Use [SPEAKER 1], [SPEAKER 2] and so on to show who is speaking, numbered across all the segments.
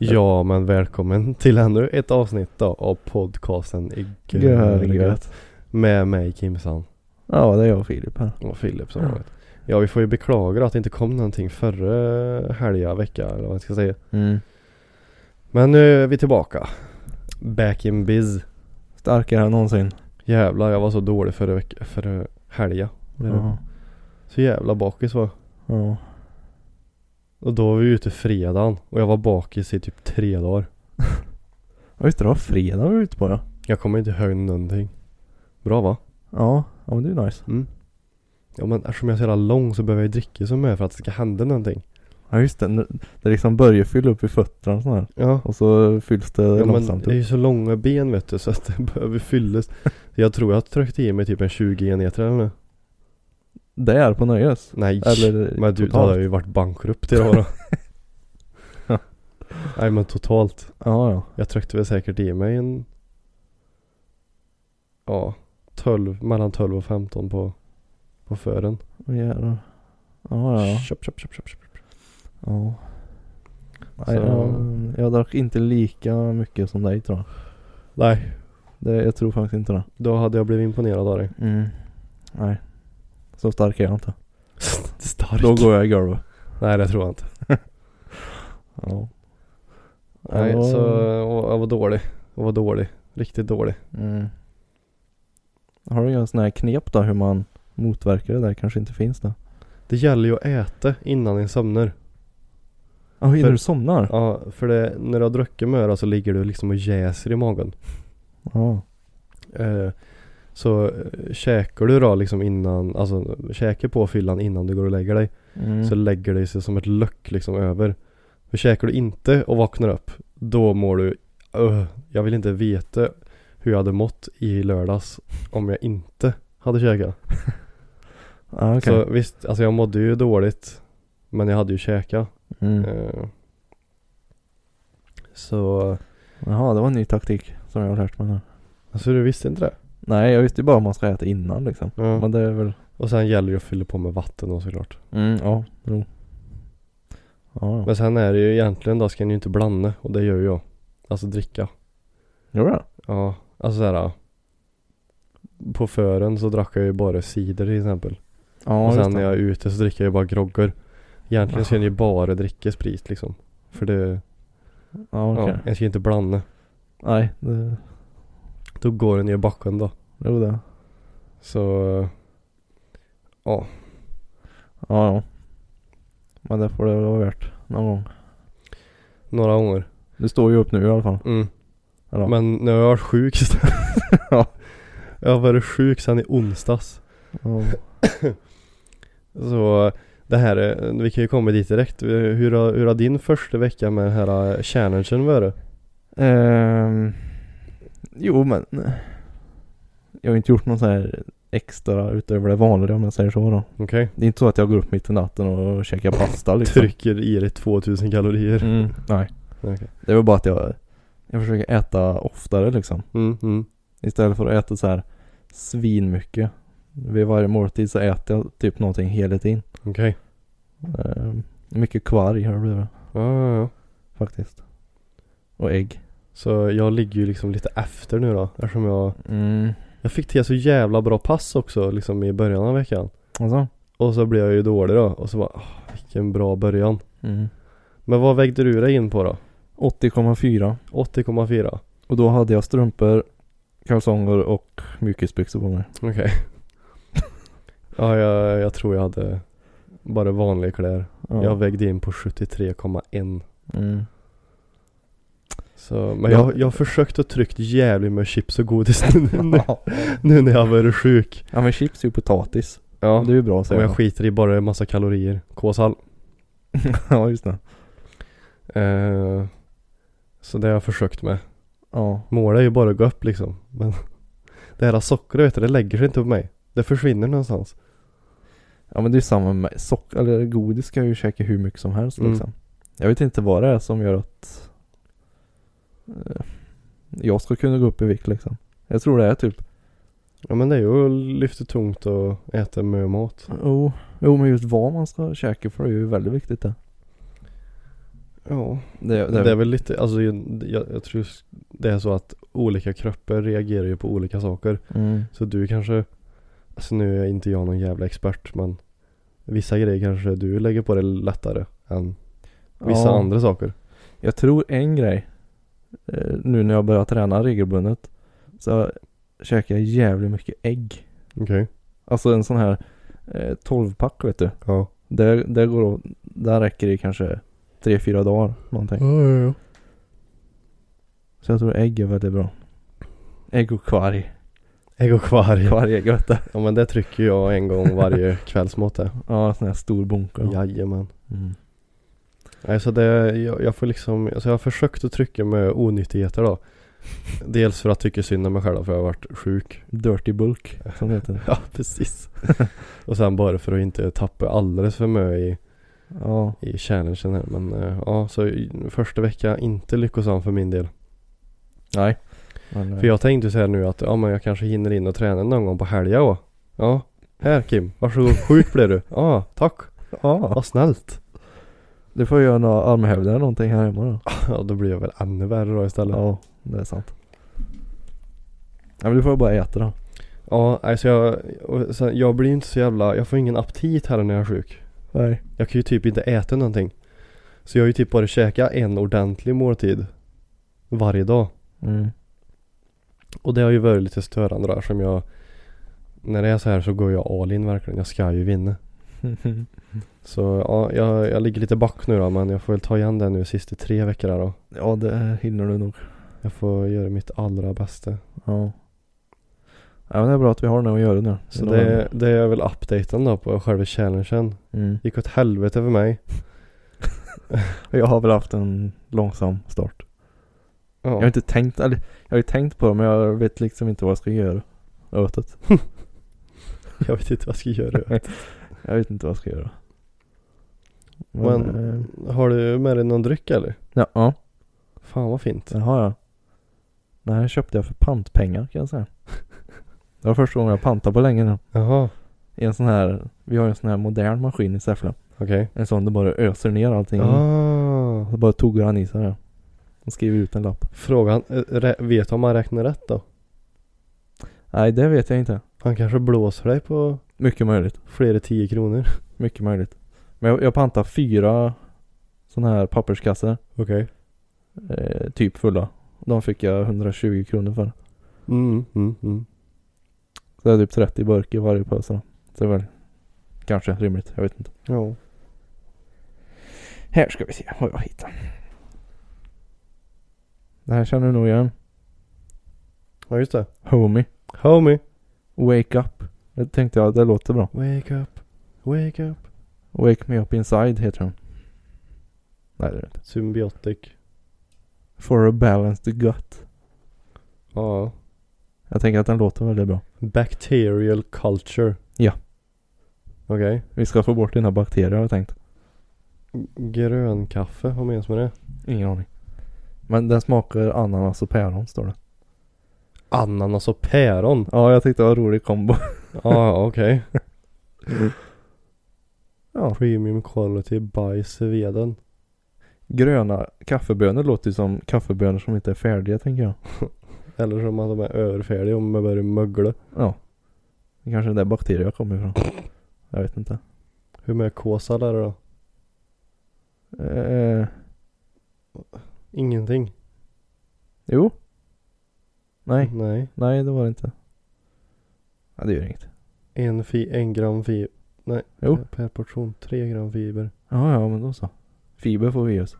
[SPEAKER 1] Ja men välkommen till ännu ett avsnitt då av podcasten i
[SPEAKER 2] Görgött.
[SPEAKER 1] Med mig Kimsan
[SPEAKER 2] Ja, det är jag och Filip här.
[SPEAKER 1] och Filip som vanligt. Ja vi får ju beklaga att det inte kom någonting förra helga vecka eller vad jag ska säga. Men nu är vi tillbaka. Back in biz.
[SPEAKER 2] Starkare än någonsin.
[SPEAKER 1] Jävlar jag var så dålig förra vecka, förra helga. blev jag.
[SPEAKER 2] Ja.
[SPEAKER 1] Så jävla bakis var jag.
[SPEAKER 2] ja.
[SPEAKER 1] Och då var vi ute fredagen och jag var bakis i typ tre dagar.
[SPEAKER 2] Ja, Just det, det var fredag vi var ute på ja.
[SPEAKER 1] Jag kommer inte ihåg någonting. Bra va?
[SPEAKER 2] Ja, ja men det är nice.
[SPEAKER 1] Mm. Ja men eftersom jag är så jävla lång så behöver jag ju dricka som är för att det ska hända någonting.
[SPEAKER 2] Ja just det, nu- det liksom börjar fylla upp i fötterna och sådär.
[SPEAKER 1] Ja.
[SPEAKER 2] Och så fylls det
[SPEAKER 1] ja men
[SPEAKER 2] långsamt
[SPEAKER 1] det är
[SPEAKER 2] upp.
[SPEAKER 1] ju så långa ben vet du så att det behöver fyllas. Jag tror jag tryckte i mig typ en 20 enheter eller nu.
[SPEAKER 2] Det är på nöjes.
[SPEAKER 1] Nej.
[SPEAKER 2] Eller
[SPEAKER 1] men du, då hade jag ju varit bankrupt idag då.
[SPEAKER 2] Ja.
[SPEAKER 1] Nej men totalt.
[SPEAKER 2] Ja, ja.
[SPEAKER 1] Jag tryckte väl säkert i mig en.. Ja. 12, mellan 12 och 15 på.. På fören.
[SPEAKER 2] Åh, jävlar. Ja, ja.
[SPEAKER 1] Köp, köp, köp, köp, köp.
[SPEAKER 2] ja.
[SPEAKER 1] Så-
[SPEAKER 2] Nej, jag, jag drack inte lika mycket som dig tror jag.
[SPEAKER 1] Nej.
[SPEAKER 2] Det, jag tror faktiskt inte det.
[SPEAKER 1] Då hade jag blivit imponerad av dig.
[SPEAKER 2] Nej. Så stark är jag inte.
[SPEAKER 1] Stark.
[SPEAKER 2] Då går jag i golvet.
[SPEAKER 1] Nej det tror jag inte.
[SPEAKER 2] Ja.
[SPEAKER 1] Nej,
[SPEAKER 2] Ja.
[SPEAKER 1] så och jag var dålig. Jag var dålig. Riktigt dålig.
[SPEAKER 2] Mm. Har du några sådana här knep då hur man motverkar det där? Kanske inte finns det?
[SPEAKER 1] Det gäller ju att äta innan ni somnar.
[SPEAKER 2] Ja, innan
[SPEAKER 1] För-
[SPEAKER 2] du somnar?
[SPEAKER 1] Ja, för det, när du har druckit möra så ligger du liksom och jäser i magen.
[SPEAKER 2] Ja.
[SPEAKER 1] Eh, så eh, käkar du då liksom innan, alltså käkar på fyllan innan du går och lägger dig.
[SPEAKER 2] Mm.
[SPEAKER 1] Så lägger det sig som ett löck liksom över. För käkar du inte och vaknar upp, då mår du, Ugh, jag vill inte veta hur jag hade mått i lördags om jag inte hade käkat.
[SPEAKER 2] ja, okej.
[SPEAKER 1] Så visst, alltså jag mådde ju dåligt Men jag hade ju käkat
[SPEAKER 2] Mm.
[SPEAKER 1] Eh, Så
[SPEAKER 2] Jaha, det var en ny taktik som jag har lärt mig nu.
[SPEAKER 1] Alltså du visste inte det?
[SPEAKER 2] Nej, jag visste ju bara om man ska äta innan liksom.
[SPEAKER 1] Ja.
[SPEAKER 2] Men det är väl...
[SPEAKER 1] Och sen gäller det att fylla på med vatten då såklart
[SPEAKER 2] Mm, ja, jo. Ja, ja.
[SPEAKER 1] Men sen är det ju egentligen då ska ni ju inte blanda och det gör jag Alltså dricka
[SPEAKER 2] Gjorde det?
[SPEAKER 1] Ja, alltså såhär På fören så drack jag ju bara cider till exempel
[SPEAKER 2] Ja,
[SPEAKER 1] Och
[SPEAKER 2] just
[SPEAKER 1] sen när
[SPEAKER 2] det.
[SPEAKER 1] jag är ute så dricker jag ju bara groggar Egentligen ska
[SPEAKER 2] Aha.
[SPEAKER 1] ni ju bara dricka sprit liksom För det,
[SPEAKER 2] Ja, okej.
[SPEAKER 1] ja, jag ska ju inte blanda
[SPEAKER 2] Nej, det...
[SPEAKER 1] Då går den ju i backen då
[SPEAKER 2] Jo det.
[SPEAKER 1] Så
[SPEAKER 2] Ja, ja. Men det får det väl vara värt någon gång.
[SPEAKER 1] några gånger.
[SPEAKER 2] Du står ju upp nu i alla fall.
[SPEAKER 1] Mm.
[SPEAKER 2] Eller?
[SPEAKER 1] Men nu har jag varit sjuk istället.
[SPEAKER 2] Ja.
[SPEAKER 1] Jag har varit sjuk sedan i onsdags.
[SPEAKER 2] Ja.
[SPEAKER 1] Så det här, eh, vi kan ju komma dit direkt. Eh, Hur har, hur har din första vecka med den här eh, challengen varit?
[SPEAKER 2] Ehm, jo men Jag har inte gjort någon sån här extra utöver det vanliga om jag säger så då.
[SPEAKER 1] Okej.
[SPEAKER 2] Det är inte så att jag går upp mitt i natten och käkar pasta liksom.
[SPEAKER 1] Trycker i dig 2000 kalorier.
[SPEAKER 2] Mm, nej.
[SPEAKER 1] Okej.
[SPEAKER 2] Det var bara att jag Jag försöker äta oftare liksom.
[SPEAKER 1] Mm, mm.
[SPEAKER 2] Istället för att äta så här svinmycket. Vid varje måltid så äter jag typ någonting hela tiden.
[SPEAKER 1] Okej.
[SPEAKER 2] Ehm, mycket kvarg har det blivit
[SPEAKER 1] Ja, ja, ja.
[SPEAKER 2] faktiskt. Och ägg.
[SPEAKER 1] Så jag ligger ju liksom lite efter nu då. Eftersom jag,
[SPEAKER 2] Mm.
[SPEAKER 1] jag fick till så jävla bra pass också liksom i början av veckan.
[SPEAKER 2] Alltså?
[SPEAKER 1] Och så blev jag ju dålig då. Och så bara, åh, vilken bra början.
[SPEAKER 2] Mm.
[SPEAKER 1] Men vad vägde du dig in på då?
[SPEAKER 2] 80,4.
[SPEAKER 1] 80,4
[SPEAKER 2] Och då hade jag strumpor, kalsonger och mjukisbyxor på mig.
[SPEAKER 1] Okej Ja jag, jag tror jag hade bara vanliga kläder
[SPEAKER 2] Ja.
[SPEAKER 1] Jag vägde in på 73,1
[SPEAKER 2] mm.
[SPEAKER 1] Så, men
[SPEAKER 2] Ja.
[SPEAKER 1] jag, jag har försökt att tryckt jävligt med chips och godis nu, nu, nu när jag har varit sjuk
[SPEAKER 2] ja men chips är ju potatis.
[SPEAKER 1] Ja,
[SPEAKER 2] Det är ju bra
[SPEAKER 1] och
[SPEAKER 2] säger
[SPEAKER 1] jag skiter i bara en massa kalorier Kåshall
[SPEAKER 2] ja, just det.
[SPEAKER 1] Eh, så det har jag försökt med.
[SPEAKER 2] Ja.
[SPEAKER 1] Målet är ju bara att gå upp liksom. Men det här sockret vet du, det lägger sig inte på mig. Det försvinner någonstans.
[SPEAKER 2] Ja men det är ju samma med sock, eller godis ska jag ju käka hur mycket som helst
[SPEAKER 1] Mm.
[SPEAKER 2] liksom. Jag vet inte vad det är som gör att eh, jag ska kunna gå upp i vikt liksom. Jag tror det är typ,
[SPEAKER 1] Ja men det är ju att lyfta tungt och äta mycket mat.
[SPEAKER 2] jo, jo men just vad man ska käka för det är ju väldigt viktigt det.
[SPEAKER 1] Ja.
[SPEAKER 2] Det,
[SPEAKER 1] Det är, väl lite, alltså jag, jag, jag tror det är så att olika kroppar reagerar ju på olika saker.
[SPEAKER 2] mm.
[SPEAKER 1] Så du kanske, alltså nu är inte jag någon jävla expert men vissa grejer kanske du lägger på dig lättare än vissa
[SPEAKER 2] Ja.
[SPEAKER 1] andra saker.
[SPEAKER 2] Jag tror en grej, eh, nu när jag börjar träna regelbundet, så käkar jag jävligt mycket ägg.
[SPEAKER 1] Okej.
[SPEAKER 2] Alltså en sån här eh, 12-pack vet du.
[SPEAKER 1] Ja.
[SPEAKER 2] Där, där, går, åt- där räcker det kanske 3-4 dagar någonting.
[SPEAKER 1] ja,
[SPEAKER 2] Så jag tror ägg är väldigt bra. Ägg och kvarg.
[SPEAKER 1] Ägg och kvarg.
[SPEAKER 2] Kvarg är gött det.
[SPEAKER 1] Ja men det trycker jag en gång varje kvällsmat det.
[SPEAKER 2] Ja, sån här stor bunke. Ja.
[SPEAKER 1] Jajamän.
[SPEAKER 2] Mm.
[SPEAKER 1] Nej, så det, jag, jag får liksom, alltså jag har försökt att trycka med onyttigheter då. Dels för att tycka synd om mig själv för jag har varit sjuk.
[SPEAKER 2] Dirty bulk, som det heter.
[SPEAKER 1] Ja, precis. och sen bara för att inte tappa alldeles för mycket i,
[SPEAKER 2] Ja,
[SPEAKER 1] i challengen här. Men eh, ja, så i- första veckan inte lyckosam för min del.
[SPEAKER 2] nej. Men, eh,
[SPEAKER 1] För jag tänkte så här nu att ja, men jag kanske hinner in och träna någon gång på helgen och Ja, här Kim, varsågod, sjuk blev du. Ja, tack.
[SPEAKER 2] ja.
[SPEAKER 1] Vad snällt.
[SPEAKER 2] Du får göra några armhävningar eller någonting här hemma då.
[SPEAKER 1] Ja, då blir jag väl ännu värre då istället.
[SPEAKER 2] Ja, det är sant. Ja, men du får bara äta då.
[SPEAKER 1] Ja, alltså jag, och sen, jag blir ju inte så jävla, jag får ingen aptit heller när jag är sjuk.
[SPEAKER 2] Nej.
[SPEAKER 1] Jag kan ju typ inte äta någonting. Så jag har ju typ bara käkat en ordentlig måltid varje dag.
[SPEAKER 2] Mm.
[SPEAKER 1] Och det har ju varit lite störande där som jag, när det är så här så går jag all in verkligen. Jag ska ju vinna. Så ja, jag, jag ligger lite back nu då men jag får väl ta igen det nu sista tre veckorna då.
[SPEAKER 2] ja, det hinner du nog.
[SPEAKER 1] Jag får göra mitt allra bästa.
[SPEAKER 2] Ja. Ja, men det är bra att vi har något att göra nu.
[SPEAKER 1] Så det, det är väl updaten då på själva challengen.
[SPEAKER 2] Mm.
[SPEAKER 1] Gick åt helvete för mig.
[SPEAKER 2] Jag har väl haft en långsam start. Jag har
[SPEAKER 1] Ja.
[SPEAKER 2] inte tänkt, eller jag har ju tänkt på det men jag vet liksom inte vad jag ska göra åt det.
[SPEAKER 1] Jag vet inte vad jag ska göra.
[SPEAKER 2] Jag vet inte vad jag ska göra. Men,
[SPEAKER 1] Men
[SPEAKER 2] eh,
[SPEAKER 1] har du med dig någon dryck eller?
[SPEAKER 2] ja, ja,
[SPEAKER 1] Fan vad fint.
[SPEAKER 2] den har jag. Den här köpte jag för pantpengar kan jag säga. Det var första gången jag pantade på länge nu.
[SPEAKER 1] Jaha,
[SPEAKER 2] I en sån här, vi har ju en sån här modern maskin i Säffle.
[SPEAKER 1] okej.
[SPEAKER 2] En sån där bara öser ner allting.
[SPEAKER 1] Ah,
[SPEAKER 2] Så bara tog han i sig det. Och skriver ut en lapp.
[SPEAKER 1] frågan, eh, rä- vet du om han räknar rätt då?
[SPEAKER 2] Nej det vet jag inte.
[SPEAKER 1] Han kanske blåser dig på
[SPEAKER 2] Mycket möjligt.
[SPEAKER 1] flera tio kronor.
[SPEAKER 2] Mycket möjligt. Men jag, jag pantade fyra sådana här papperskassar.
[SPEAKER 1] Okej.
[SPEAKER 2] eh, typ fulla. De fick jag 120 kronor för.
[SPEAKER 1] Mm, mm, mm.
[SPEAKER 2] Så det är typ 30 burk i varje påse då. Så det är väl kanske rimligt. Jag vet inte.
[SPEAKER 1] Ja.
[SPEAKER 2] Här ska vi se vad jag hittar. Det här känner du nog igen.
[SPEAKER 1] Ja just det.
[SPEAKER 2] Homie.
[SPEAKER 1] Homie.
[SPEAKER 2] Wake up. Det tänkte jag, det låter bra.
[SPEAKER 1] Wake up. Wake up.
[SPEAKER 2] Wake me up inside heter den. Nej det är det inte.
[SPEAKER 1] Symbiotic.
[SPEAKER 2] For a balanced gut.
[SPEAKER 1] Ja.
[SPEAKER 2] Jag tänker att den låter väldigt bra.
[SPEAKER 1] Bacterial culture.
[SPEAKER 2] Ja.
[SPEAKER 1] Okej.
[SPEAKER 2] Vi ska få bort dina bakterier har jag tänkt.
[SPEAKER 1] Grönkaffe, vad menas med det?
[SPEAKER 2] Ingen aning. Men den smakar ananas och päron står det.
[SPEAKER 1] Ananas och päron.
[SPEAKER 2] Ja jag tyckte det var en rolig kombo.
[SPEAKER 1] Ja, okej.
[SPEAKER 2] Ja.
[SPEAKER 1] Premium quality by Seveden.
[SPEAKER 2] Gröna kaffebönor låter ju som kaffebönor som inte är färdiga tänker jag.
[SPEAKER 1] Eller som att de är överfärdiga om man börjar mögla.
[SPEAKER 2] Ja. Det kanske är där bakterier kommer ifrån. Jag vet inte.
[SPEAKER 1] Hur mycket kåsar är det då?
[SPEAKER 2] Eh,
[SPEAKER 1] Ingenting.
[SPEAKER 2] jo. Nej.
[SPEAKER 1] Nej.
[SPEAKER 2] Nej det var det inte. Ja det gör inget.
[SPEAKER 1] En, fi- en gram fiber. Nej.
[SPEAKER 2] Jo.
[SPEAKER 1] per- Per portion. Tre gram fiber.
[SPEAKER 2] Ja ja men då så. Fiber får vi i oss.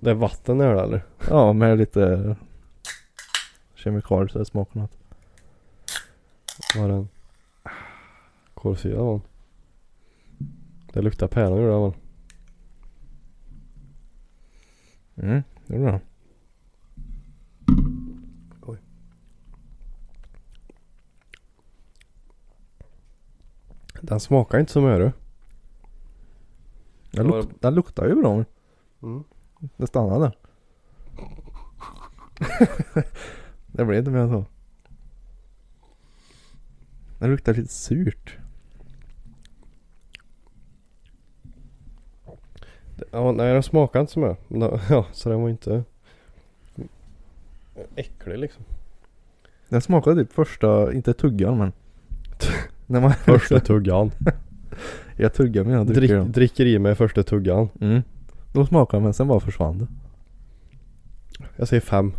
[SPEAKER 1] Det är vatten där eller?
[SPEAKER 2] Ja med lite kemikalier så det smakar något.
[SPEAKER 1] Var den? Kolsyra var den. Det luktar päron gjorde det väl?
[SPEAKER 2] Mm, det är bra.
[SPEAKER 1] Oj. Den smakar inte som öre.
[SPEAKER 2] Den,
[SPEAKER 1] Ja, det-
[SPEAKER 2] luk- den luktar ju bra. men
[SPEAKER 1] Mm.
[SPEAKER 2] Det stannar där. det blev inte mer än så. Den luktar lite surt.
[SPEAKER 1] Ja, nej den smakar inte som öre. Nå- Ja, så den var inte äcklig liksom.
[SPEAKER 2] Den smakade typ första, inte tuggan men. När man,
[SPEAKER 1] Första tuggan.
[SPEAKER 2] jag tuggar medan jag dricker
[SPEAKER 1] Drick,
[SPEAKER 2] den.
[SPEAKER 1] dricker i mig första tuggan.
[SPEAKER 2] Mm. Då smakade den men sen bara försvann det.
[SPEAKER 1] Jag säger fem.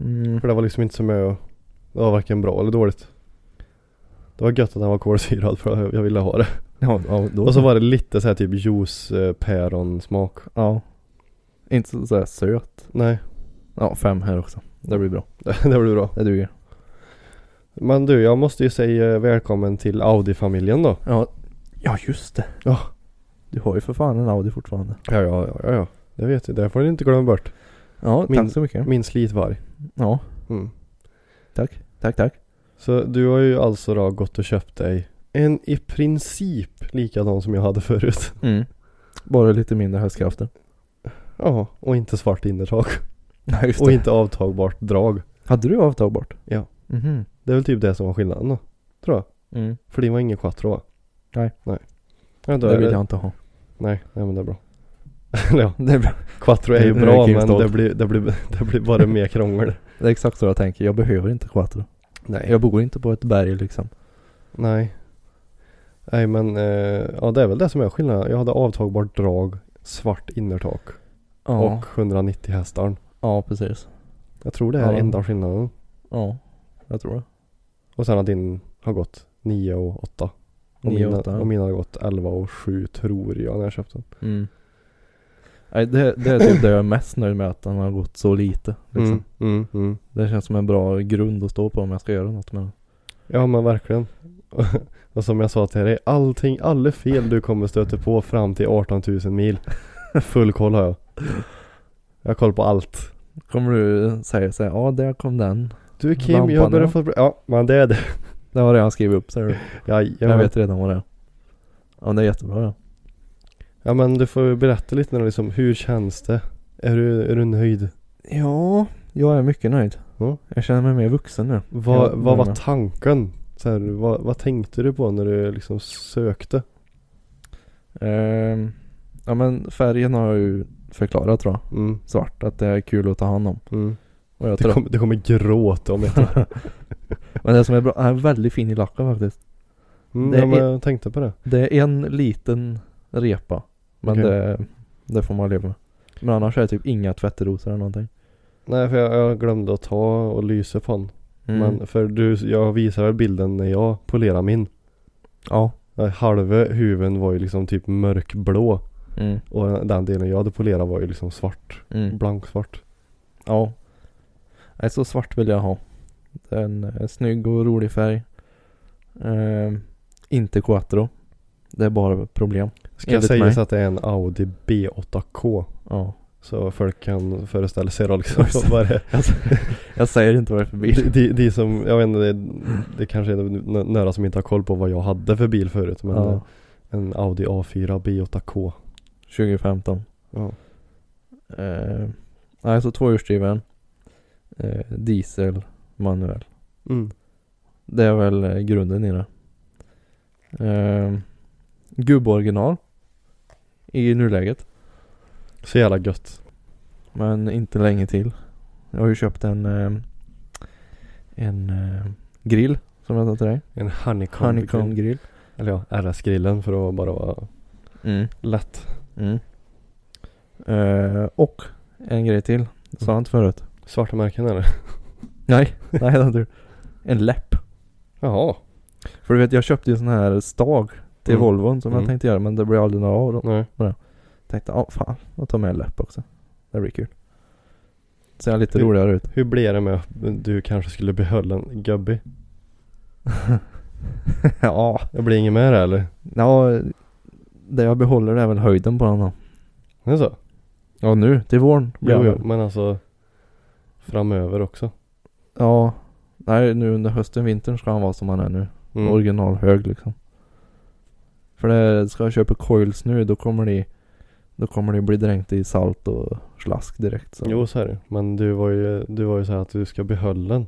[SPEAKER 2] Mm.
[SPEAKER 1] För det var liksom inte som jag Det var varken bra eller dåligt Det var gött att den var kolsyrad för jag- jag ville ha det
[SPEAKER 2] Ja, ja, då
[SPEAKER 1] Och så var det lite såhär typ juice eh, päronsmak
[SPEAKER 2] Ja. Inte så, sådär söt.
[SPEAKER 1] Nej,
[SPEAKER 2] Ja, fem här också. Det blir bra.
[SPEAKER 1] det blir bra
[SPEAKER 2] Det duger.
[SPEAKER 1] Men du, jag måste ju säga välkommen till Audi-familjen då
[SPEAKER 2] Ja, ja just det.
[SPEAKER 1] Ja.
[SPEAKER 2] Du har ju för fan en Audi fortfarande.
[SPEAKER 1] Ja, ja, ja, ja, ja. Det vet jag, det får ni inte glömma bort
[SPEAKER 2] Ja, Mm.
[SPEAKER 1] Min-
[SPEAKER 2] tack så mycket.
[SPEAKER 1] Min slitvarg
[SPEAKER 2] Ja,
[SPEAKER 1] mm.
[SPEAKER 2] tack. Tack, tack.
[SPEAKER 1] Så du har ju alltså då gått och köpt dig En i princip likadan som jag hade förut
[SPEAKER 2] Mm. Bara lite mindre hästkrafter.
[SPEAKER 1] Ja, och inte svart innertak
[SPEAKER 2] Nej, just
[SPEAKER 1] Och inte avtagbart drag
[SPEAKER 2] Hade du avtagbart?
[SPEAKER 1] Ja.
[SPEAKER 2] Mhm.
[SPEAKER 1] Det är väl typ det som var skillnaden då, tror jag.
[SPEAKER 2] Mm.
[SPEAKER 1] För din var ingen quattro va?
[SPEAKER 2] Nej.
[SPEAKER 1] Nej. Ja, då
[SPEAKER 2] Det
[SPEAKER 1] är
[SPEAKER 2] vill
[SPEAKER 1] det...
[SPEAKER 2] jag inte ha.
[SPEAKER 1] Nej, nej men det är bra. Eller ja,
[SPEAKER 2] Det är, bra.
[SPEAKER 1] quattro är ju
[SPEAKER 2] Det är
[SPEAKER 1] bra
[SPEAKER 2] King's
[SPEAKER 1] men det
[SPEAKER 2] Dog.
[SPEAKER 1] blir, det, blir, det blir bara mer krångel.
[SPEAKER 2] det är exakt så jag tänker. Jag behöver inte quattro.
[SPEAKER 1] Nej.
[SPEAKER 2] Jag bor inte på ett berg liksom.
[SPEAKER 1] Nej. Nej men, eh, ja det är väl det som är skillnaden. Jag hade avtagbart drag, svart innertak
[SPEAKER 2] Ja,
[SPEAKER 1] och 190 hästar.
[SPEAKER 2] ja precis.
[SPEAKER 1] Jag tror det är
[SPEAKER 2] Ja.
[SPEAKER 1] enda skillnaden.
[SPEAKER 2] Ja, jag tror det.
[SPEAKER 1] Och sen att din har gått 9 och 8. Och,
[SPEAKER 2] Nio,
[SPEAKER 1] mina,
[SPEAKER 2] åtta.
[SPEAKER 1] och mina har gått 11 och 7 tror jag när jag köpte den.
[SPEAKER 2] Mm. Nej, det, det är typ det jag är mest nöjd med att den har gått så lite. Liksom.
[SPEAKER 1] Mm, mm, mm.
[SPEAKER 2] Det känns som en bra grund att stå på om jag ska göra något med den.
[SPEAKER 1] Ja men verkligen. Och som jag sa till dig, allting, alla fel du kommer stöta på fram till 18 000 mil. Full koll har jag. Jag har koll på allt.
[SPEAKER 2] Kommer du säga så här, ja där kom den.
[SPEAKER 1] Du Kim, jag
[SPEAKER 2] Lampan,
[SPEAKER 1] börjar
[SPEAKER 2] ja.
[SPEAKER 1] få... Ja, men det är det.
[SPEAKER 2] Det var det jag skrev upp säger du.
[SPEAKER 1] Ja,
[SPEAKER 2] Jag, vet redan vad det är. Ja men det är jättebra ja.
[SPEAKER 1] Ja men du får ju berätta lite nu liksom, hur känns det? Är du, är du nöjd?
[SPEAKER 2] Ja, jag är mycket nöjd.
[SPEAKER 1] Ja.
[SPEAKER 2] Jag känner mig mer vuxen nu.
[SPEAKER 1] Vad,
[SPEAKER 2] Ja,
[SPEAKER 1] vad
[SPEAKER 2] jag
[SPEAKER 1] var
[SPEAKER 2] med.
[SPEAKER 1] tanken? Så här, vad, vad tänkte du på när du liksom sökte?
[SPEAKER 2] Ehm, ja men färgen har jag ju förklarat tror jag.
[SPEAKER 1] Mm,
[SPEAKER 2] Svart, att det är kul att ta hand om.
[SPEAKER 1] mm.
[SPEAKER 2] Och jag
[SPEAKER 1] Du,
[SPEAKER 2] tror
[SPEAKER 1] kommer, du kommer gråta om ett år.
[SPEAKER 2] Men det som är bra, den är väldigt fin i lacken faktiskt.
[SPEAKER 1] mm,
[SPEAKER 2] Det
[SPEAKER 1] ja, men
[SPEAKER 2] är-
[SPEAKER 1] jag tänkte på det.
[SPEAKER 2] Det är en liten repa. Men
[SPEAKER 1] Okej.
[SPEAKER 2] det, det får man leva med. Men annars är det typ inga tvätterosor eller någonting.
[SPEAKER 1] Nej för jag, jag glömde att ta och lysa på den.
[SPEAKER 2] Mm.
[SPEAKER 1] Men för du, jag visar väl bilden när jag polerar min.
[SPEAKER 2] Ja.
[SPEAKER 1] Eh, Halva huven var ju liksom typ mörkblå
[SPEAKER 2] Mm.
[SPEAKER 1] och den- den delen jag hade polerat var ju liksom svart,
[SPEAKER 2] Mm.
[SPEAKER 1] blanksvart.
[SPEAKER 2] Ja. Nej, så svart vill jag ha. Det är en eh, snygg och rolig färg. Ehm, inte quattro. Det är bara problem.
[SPEAKER 1] Ska jag
[SPEAKER 2] Enligt
[SPEAKER 1] säga
[SPEAKER 2] mig.
[SPEAKER 1] så att det är en Audi B8K
[SPEAKER 2] Ja.
[SPEAKER 1] så folk kan föreställa sig då liksom vad det är.
[SPEAKER 2] Jag säger inte vad det är för
[SPEAKER 1] De,
[SPEAKER 2] bil.
[SPEAKER 1] de, de som, jag vet inte, det, det kanske är n- några som inte har koll på vad jag hade för bil förut men eh,
[SPEAKER 2] ja.
[SPEAKER 1] en Audi A4 B8K.
[SPEAKER 2] 2015.
[SPEAKER 1] Ja.
[SPEAKER 2] Ehm, nej, så tvåhjulsdriven. Eh, diesel, manuell.
[SPEAKER 1] Mm.
[SPEAKER 2] Det är väl eh, grunden i det. Ehm, Gubboriginal. I nuläget.
[SPEAKER 1] Så jävla gött.
[SPEAKER 2] Men inte länge till. Jag har ju köpt en eh, en eh, grill som jag sa till dig.
[SPEAKER 1] En honeycomb,
[SPEAKER 2] Honeycomb grill.
[SPEAKER 1] Eller ja, RS-grillen för att bara vara
[SPEAKER 2] Mm.
[SPEAKER 1] lätt.
[SPEAKER 2] Mm. Eh, och en grej till. Det sa jag inte förut.
[SPEAKER 1] Svarta märken eller?
[SPEAKER 2] Mm. Nej, nej det hade du. En läpp.
[SPEAKER 1] Jaha.
[SPEAKER 2] För du vet jag köpte ju sån här stag till
[SPEAKER 1] Mm.
[SPEAKER 2] Volvon som
[SPEAKER 1] Mm.
[SPEAKER 2] jag tänkte göra men det blev aldrig några av dem.
[SPEAKER 1] Nej.
[SPEAKER 2] Tänkte ja fan, jag tar med en läpp också. Det blir kul. Ser lite
[SPEAKER 1] Hur-
[SPEAKER 2] roligare ut.
[SPEAKER 1] Hur blev det med att du kanske skulle behålla en gubbi?
[SPEAKER 2] ja,
[SPEAKER 1] Det blir inget med det eller?
[SPEAKER 2] ja, det jag behåller är väl höjden på den då.
[SPEAKER 1] Är det så?
[SPEAKER 2] Ja nu till våren blir
[SPEAKER 1] Jo,
[SPEAKER 2] det
[SPEAKER 1] jo,
[SPEAKER 2] väl.
[SPEAKER 1] men alltså framöver också.
[SPEAKER 2] Ja. Nej nu under hösten, vintern ska han vara som han är nu.
[SPEAKER 1] Mm.
[SPEAKER 2] Originalhög liksom. För det, ska jag köpa coils nu då kommer de Då kommer de bli dränkt i salt och slask direkt. Så.
[SPEAKER 1] Jo så är det Men du var ju, du var ju så här att du ska behålla den.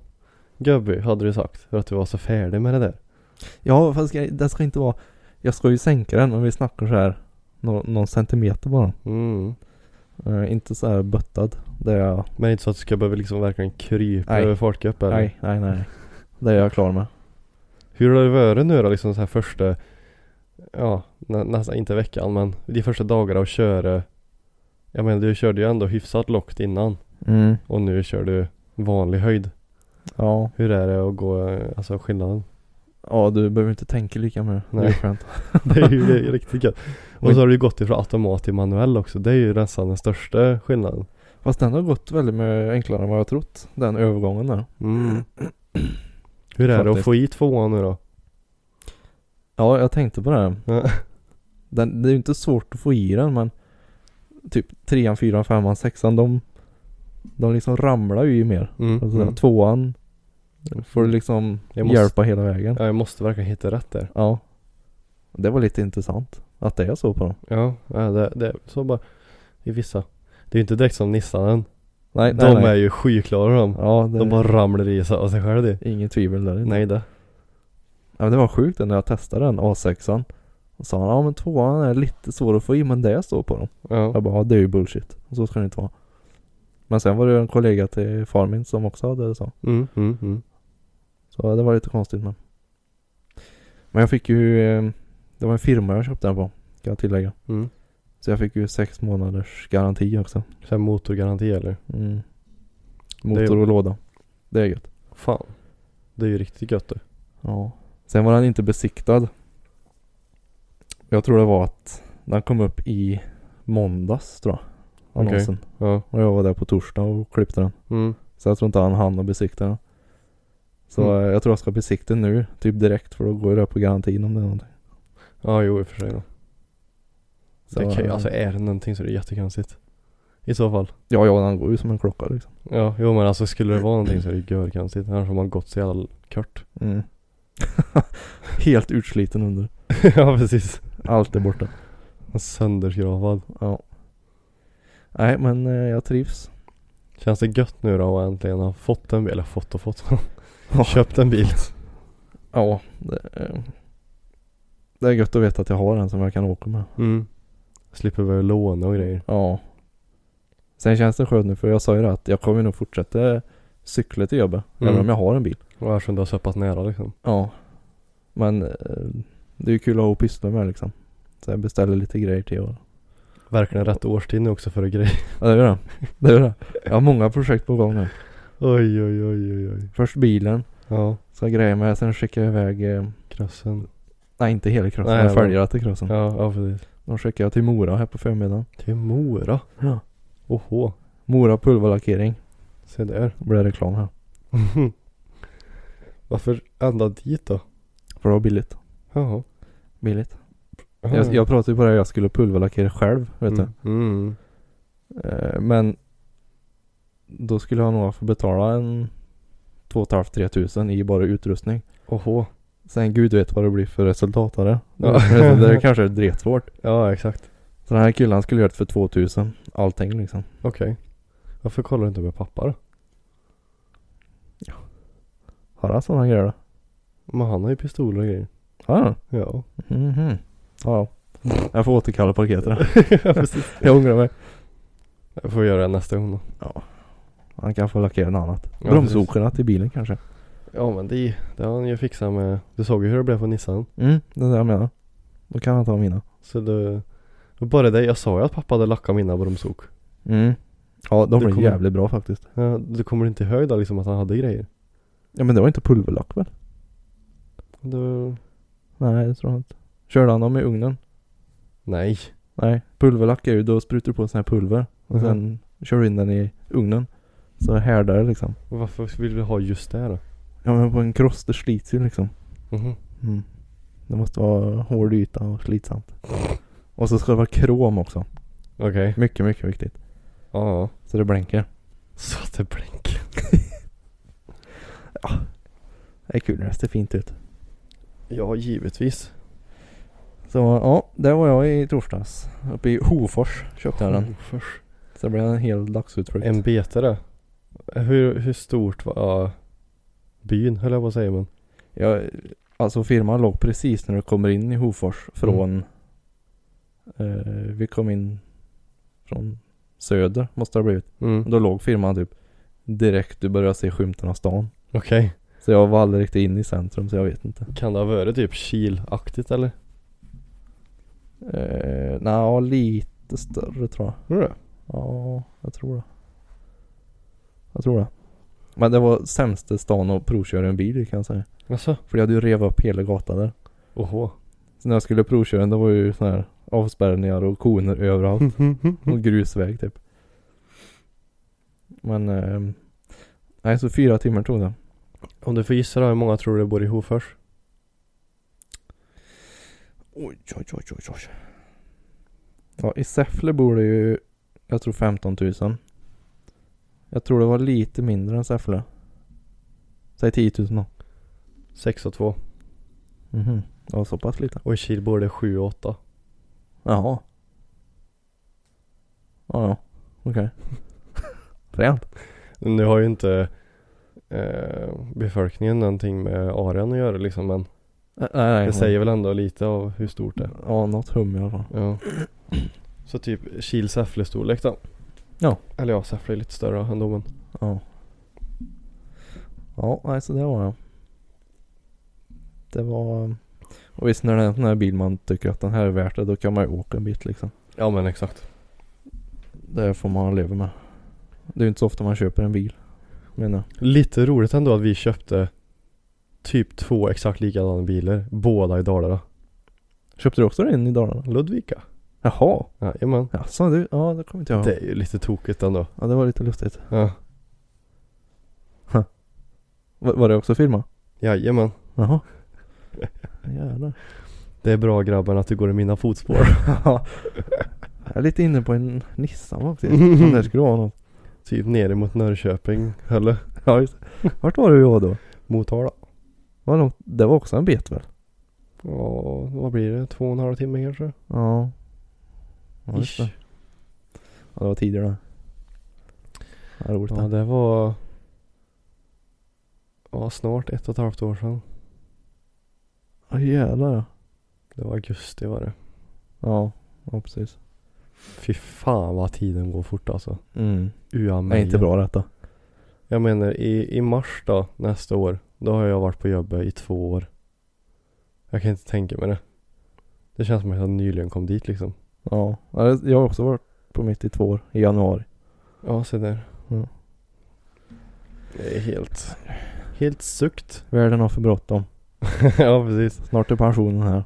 [SPEAKER 1] Gubby hade du sagt för att du var så färdig med det där.
[SPEAKER 2] Ja fast jag, det ska inte vara. Jag ska ju sänka den men vi snackar så här. Nå, någon centimeter bara.
[SPEAKER 1] Mm.
[SPEAKER 2] Eh, inte så här böttad. Det är jag.
[SPEAKER 1] Men inte så att du ska behöva liksom verkligen krypa
[SPEAKER 2] Nej.
[SPEAKER 1] över folkgrupp eller?
[SPEAKER 2] Nej, nej, nej. Det är jag klar med.
[SPEAKER 1] Hur har det varit nu då liksom så här första, ja nä, nästan inte veckan men de första dagarna att köra. Jag menar du körde ju ändå hyfsat lågt innan
[SPEAKER 2] Mm.
[SPEAKER 1] och nu kör du vanlig höjd.
[SPEAKER 2] Ja.
[SPEAKER 1] Hur är det att gå, eh, alltså skillnaden?
[SPEAKER 2] Ja du behöver inte tänka lika mycket. Det är
[SPEAKER 1] Nej.
[SPEAKER 2] skönt.
[SPEAKER 1] Det är ju det är riktigt gött. Och så har du ju gått ifrån automat till manuell också. Det är ju nästan den största skillnaden.
[SPEAKER 2] Fast den har gått väldigt mycket enklare än vad jag trott. Den övergången där.
[SPEAKER 1] Mm. Hur är det att
[SPEAKER 2] Faktiskt.
[SPEAKER 1] få i tvåan nu då?
[SPEAKER 2] Ja jag tänkte på det. här.
[SPEAKER 1] Ja.
[SPEAKER 2] Den, det är ju inte svårt att få i den men typ trean, fyran, femman, sexan de de liksom ramlar ju i mer.
[SPEAKER 1] Mm.
[SPEAKER 2] Alltså,
[SPEAKER 1] Mm.
[SPEAKER 2] Tvåan får du liksom
[SPEAKER 1] Jag måste-
[SPEAKER 2] hjälpa hela vägen.
[SPEAKER 1] Ja, jag måste verkligen hitta rätt där.
[SPEAKER 2] Ja. Det var lite intressant att det är så på dem.
[SPEAKER 1] Ja, ja det, det är så bara i vissa. Det är ju inte direkt som Nissanen.
[SPEAKER 2] Nej, nej,
[SPEAKER 1] de
[SPEAKER 2] nej.
[SPEAKER 1] är ju skyklara de.
[SPEAKER 2] Ja, det
[SPEAKER 1] De
[SPEAKER 2] de
[SPEAKER 1] bara ramlar i sig av sig själva det.
[SPEAKER 2] inget tvivel där.
[SPEAKER 1] Nej det.
[SPEAKER 2] Ja, men det var sjukt när jag testade den A6an. Och sa han, ja men tvåan är lite svår att få i men det står på dem.
[SPEAKER 1] Ja.
[SPEAKER 2] Jag bara, ja det är ju bullshit. Så ska det inte vara. Men sen var det ju en kollega till far min som också hade det så.
[SPEAKER 1] Mm, mm, mm.
[SPEAKER 2] Så det var lite konstigt men. Men jag fick ju, eh, det var en firma jag köpte den på. Kan jag tillägga.
[SPEAKER 1] mm.
[SPEAKER 2] Så jag fick ju sex månaders garanti också.
[SPEAKER 1] Så här motorgaranti eller?
[SPEAKER 2] Mm.
[SPEAKER 1] Det är
[SPEAKER 2] Motor
[SPEAKER 1] ju-
[SPEAKER 2] och låda. Det är gött.
[SPEAKER 1] Fan. Det är ju riktigt gött du.
[SPEAKER 2] Ja. Sen var den inte besiktad. Jag tror det var att den kom upp i måndags tror jag.
[SPEAKER 1] Okej.
[SPEAKER 2] Annonsen.
[SPEAKER 1] Ja.
[SPEAKER 2] Och jag var där på torsdag och klippte den.
[SPEAKER 1] Mm.
[SPEAKER 2] Så jag tror inte han hann att besikta den. Så
[SPEAKER 1] Mm.
[SPEAKER 2] eh, jag tror jag ska besikta den nu. Typ direkt för då går det på garantin om det är någonting.
[SPEAKER 1] Ja jo i och för sig då.
[SPEAKER 2] Så,
[SPEAKER 1] det kan, ju-
[SPEAKER 2] eh,
[SPEAKER 1] alltså är det någonting så är det jättekonstigt. I så fall.
[SPEAKER 2] Ja, ja den går ju som en klocka liksom.
[SPEAKER 1] Ja jo men alltså skulle det vara någonting så är det ju görkonstigt. Annars har man gått så jävla kort.
[SPEAKER 2] Mm. Helt utsliten under.
[SPEAKER 1] ja precis.
[SPEAKER 2] Allt är borta.
[SPEAKER 1] Sönderskravad.
[SPEAKER 2] Ja. Nej men eh, jag trivs.
[SPEAKER 1] Känns det gött nu då att äntligen ha fått en bil? Eller fått och fått.
[SPEAKER 2] Ja.
[SPEAKER 1] Köpt en bil.
[SPEAKER 2] Ja. Det, eh, det är gött att veta att jag har en som jag kan åka med.
[SPEAKER 1] Mm. Slipper börja låna och grejer.
[SPEAKER 2] Ja. Sen känns det skönt nu för jag sa ju det att jag kommer nog fortsätta cykla till jobbet.
[SPEAKER 1] Mm.
[SPEAKER 2] Även om jag har en bil.
[SPEAKER 1] Och eftersom du har så pass nära liksom.
[SPEAKER 2] Ja. Men eh, det är ju kul att ha att pyssla med liksom. Så jag beställer lite grejer till och...
[SPEAKER 1] Verkligen rätt årstid nu också för att grejer.
[SPEAKER 2] Ja det gör jag. Det gör jag. Jag har många projekt på gång nu.
[SPEAKER 1] Oj oj oj oj oj.
[SPEAKER 2] Först bilen.
[SPEAKER 1] Ja.
[SPEAKER 2] Ska jag greja med. Sen skickar jag iväg. Eh,
[SPEAKER 1] Krossen.
[SPEAKER 2] nej inte hela krossen.
[SPEAKER 1] Nej,
[SPEAKER 2] jag
[SPEAKER 1] men-
[SPEAKER 2] följer till krossen.
[SPEAKER 1] Ja, ja precis.
[SPEAKER 2] Då skickar jag till Mora här på förmiddagen.
[SPEAKER 1] Till Mora.
[SPEAKER 2] Ja.
[SPEAKER 1] Oho.
[SPEAKER 2] Mora pulverlackering.
[SPEAKER 1] Se där.
[SPEAKER 2] Då blir det reklam här.
[SPEAKER 1] Varför ända dit då?
[SPEAKER 2] För det var billigt.
[SPEAKER 1] Jaha.
[SPEAKER 2] Billigt. Jag, jag pratade ju på det här, jag skulle pulverlackera själv. Vet du.
[SPEAKER 1] mm. Mm.
[SPEAKER 2] Eh, Men då skulle jag nog få betala en 2,5-3 tusen i bara utrustning.
[SPEAKER 1] Oho.
[SPEAKER 2] Sen gud vet vad det blir för resultat av det.
[SPEAKER 1] Ja.
[SPEAKER 2] Det är kanske är dretsvårt.
[SPEAKER 1] Ja exakt.
[SPEAKER 2] Så den här killen han skulle göra det för 2000. Allting liksom.
[SPEAKER 1] Okej. Varför kollar du inte med pappa då?
[SPEAKER 2] Har han sådana grejer då?
[SPEAKER 1] Men han har ju pistoler och grejer.
[SPEAKER 2] Har han?
[SPEAKER 1] Ja.
[SPEAKER 2] Mhm. Ja. Jag får återkalla paketet.
[SPEAKER 1] ja precis.
[SPEAKER 2] jag ångrar mig.
[SPEAKER 1] Jag får göra det nästa gång då.
[SPEAKER 2] Han kan få lackera något annat.
[SPEAKER 1] Ja,
[SPEAKER 2] Bromsokerna till bilen kanske.
[SPEAKER 1] Ja men det, det har han ju fixat med. Du såg ju hur det blev på Nissan.
[SPEAKER 2] Mm, det är det jag menar. Då kan han ta mina.
[SPEAKER 1] Så det. och Bara det, jag sa ju att pappa hade lackat mina bromsok.
[SPEAKER 2] Mm. Ja, de
[SPEAKER 1] Det
[SPEAKER 2] blir
[SPEAKER 1] kommer-
[SPEAKER 2] jävligt bra faktiskt.
[SPEAKER 1] Ja, du kommer inte ihåg då liksom att han hade grejer?
[SPEAKER 2] Ja men det var inte pulverlack väl?
[SPEAKER 1] Du...
[SPEAKER 2] Nej det tror jag inte. Körde han dem i ugnen?
[SPEAKER 1] Nej.
[SPEAKER 2] Nej. Pulverlack är ju då sprutar du på sån här pulver. Och
[SPEAKER 1] Mhm.
[SPEAKER 2] sen kör du in den i ugnen. Så härdar det liksom.
[SPEAKER 1] Varför vill du ha just det då?
[SPEAKER 2] Ja men på en cross det slits ju liksom.
[SPEAKER 1] Mhm.
[SPEAKER 2] Mm. Det måste vara hård yta och slitsamt. Och så ska det vara krom också.
[SPEAKER 1] Okej.
[SPEAKER 2] Mycket mycket viktigt.
[SPEAKER 1] Ja.
[SPEAKER 2] Så det blinkar.
[SPEAKER 1] Så att det blinkar.
[SPEAKER 2] Det är kul när det ser fint ut.
[SPEAKER 1] Ja, givetvis.
[SPEAKER 2] Så ja, där var jag i torsdags. Uppe i Hofors köpte jag
[SPEAKER 1] Oh,
[SPEAKER 2] den.
[SPEAKER 1] Hofors.
[SPEAKER 2] Så det blev en hel dagsutflykt.
[SPEAKER 1] En betare. Hur, hur stort var byn höll jag på att säga men.
[SPEAKER 2] Ja, alltså firman låg precis när du kommer in i Hofors från eh, Vi kom in från söder måste det ha blivit.
[SPEAKER 1] Mm.
[SPEAKER 2] Då låg firman typ direkt du började se skymten av stan.
[SPEAKER 1] Okej.
[SPEAKER 2] Så jag var aldrig riktigt inne i centrum så jag vet inte.
[SPEAKER 1] Kan det ha varit typ kilaktigt eller?
[SPEAKER 2] Eh, Nja, lite större tror jag.
[SPEAKER 1] Tror du det?
[SPEAKER 2] Ja, jag tror det. Jag tror det. Men det var sämsta stan att provköra en bil i, kan jag säga.
[SPEAKER 1] Jaså?
[SPEAKER 2] För jag hade ju rev upp hela gatan där.
[SPEAKER 1] Alltså, Oho.
[SPEAKER 2] Så när jag skulle provköra den, det var ju sådana här avspärrningar och koner överallt. Och grusväg typ. Men, eh, nej så fyra timmar tog det.
[SPEAKER 1] Om du får gissa då, hur många tror du bor i Hofors?
[SPEAKER 2] Oj, oj, oj, oj, oj. Ja, i Säffle bor det ju, jag tror 15 000. Jag tror det var lite mindre än Säffle. Säg 10 000 då.
[SPEAKER 1] 6 och 2.
[SPEAKER 2] Mhm, det var så pass lite.
[SPEAKER 1] Och i Kil bor det 7 och 8.
[SPEAKER 2] Jaha. Ja, ja. Okej. Fränt.
[SPEAKER 1] Nu har ju inte eh, befolkningen någonting med arean att göra liksom men
[SPEAKER 2] Ä- Nej, nej.
[SPEAKER 1] det säger väl ändå lite av hur stort det är.
[SPEAKER 2] Ja, något hum i alla fall.
[SPEAKER 1] Ja. Så typ Kil-Säffle-storlek då?
[SPEAKER 2] Ja.
[SPEAKER 1] Eller ja, Säffle är lite större ändå men.
[SPEAKER 2] Ja. Ja, nej så det var jag. Det var... eh, Och visst när det är en sån här bil man tycker att den här är värt det, då kan man ju åka en bit liksom.
[SPEAKER 1] Ja men exakt.
[SPEAKER 2] Det får man leva med. Det är ju inte så ofta man köper en bil. Menar jag.
[SPEAKER 1] Lite roligt ändå att vi köpte typ två exakt likadana bilar, båda i Dalarna.
[SPEAKER 2] Köpte du också en i Dalarna?
[SPEAKER 1] Ludvika.
[SPEAKER 2] Jaha.
[SPEAKER 1] Jajamän.
[SPEAKER 2] Jaså du? Ja, det kommer inte jag ihåg.
[SPEAKER 1] Det är ju lite tokigt ändå.
[SPEAKER 2] Ja, det var lite lustigt.
[SPEAKER 1] Ja.
[SPEAKER 2] Var, var det också firma?
[SPEAKER 1] Jajamän.
[SPEAKER 2] Jaha. Jävlar.
[SPEAKER 1] Det är bra grabben att du går i mina fotspår.
[SPEAKER 2] Ja. jag är lite inne på en Nissan faktiskt. Om det skulle vara något.
[SPEAKER 1] typ ner mot Norrköping, eller?
[SPEAKER 2] Ja, just det. Vart var du då? då?
[SPEAKER 1] Motala.
[SPEAKER 2] Var långt? Det var också en bet väl?
[SPEAKER 1] Ja, vad blir det? Två och en halv timme kanske?
[SPEAKER 2] Ja. Ja, just det.
[SPEAKER 1] Ish.
[SPEAKER 2] Ja, det var tidigare. Ja, roligt
[SPEAKER 1] Ja,
[SPEAKER 2] det.
[SPEAKER 1] det var... Ja, snart ett och ett halvt år sedan.
[SPEAKER 2] Ja, jävlar ja.
[SPEAKER 1] Det var augusti var det.
[SPEAKER 2] Ja, ja precis.
[SPEAKER 1] Fy fan vad tiden går fort alltså.
[SPEAKER 2] Mm.
[SPEAKER 1] Ua
[SPEAKER 2] Det är inte bra detta.
[SPEAKER 1] Jag menar i, i mars då, nästa år. Då har jag varit på jobbet i två år. Jag kan inte tänka mig det. Det känns som att jag nyligen kom dit liksom.
[SPEAKER 2] Ja, Ja, det- jag har också varit på mitt i två år i januari.
[SPEAKER 1] Ja, se där.
[SPEAKER 2] Mm.
[SPEAKER 1] Det är helt... Helt sukt.
[SPEAKER 2] Världen har för bråttom.
[SPEAKER 1] ja, precis.
[SPEAKER 2] Snart är pensionen här.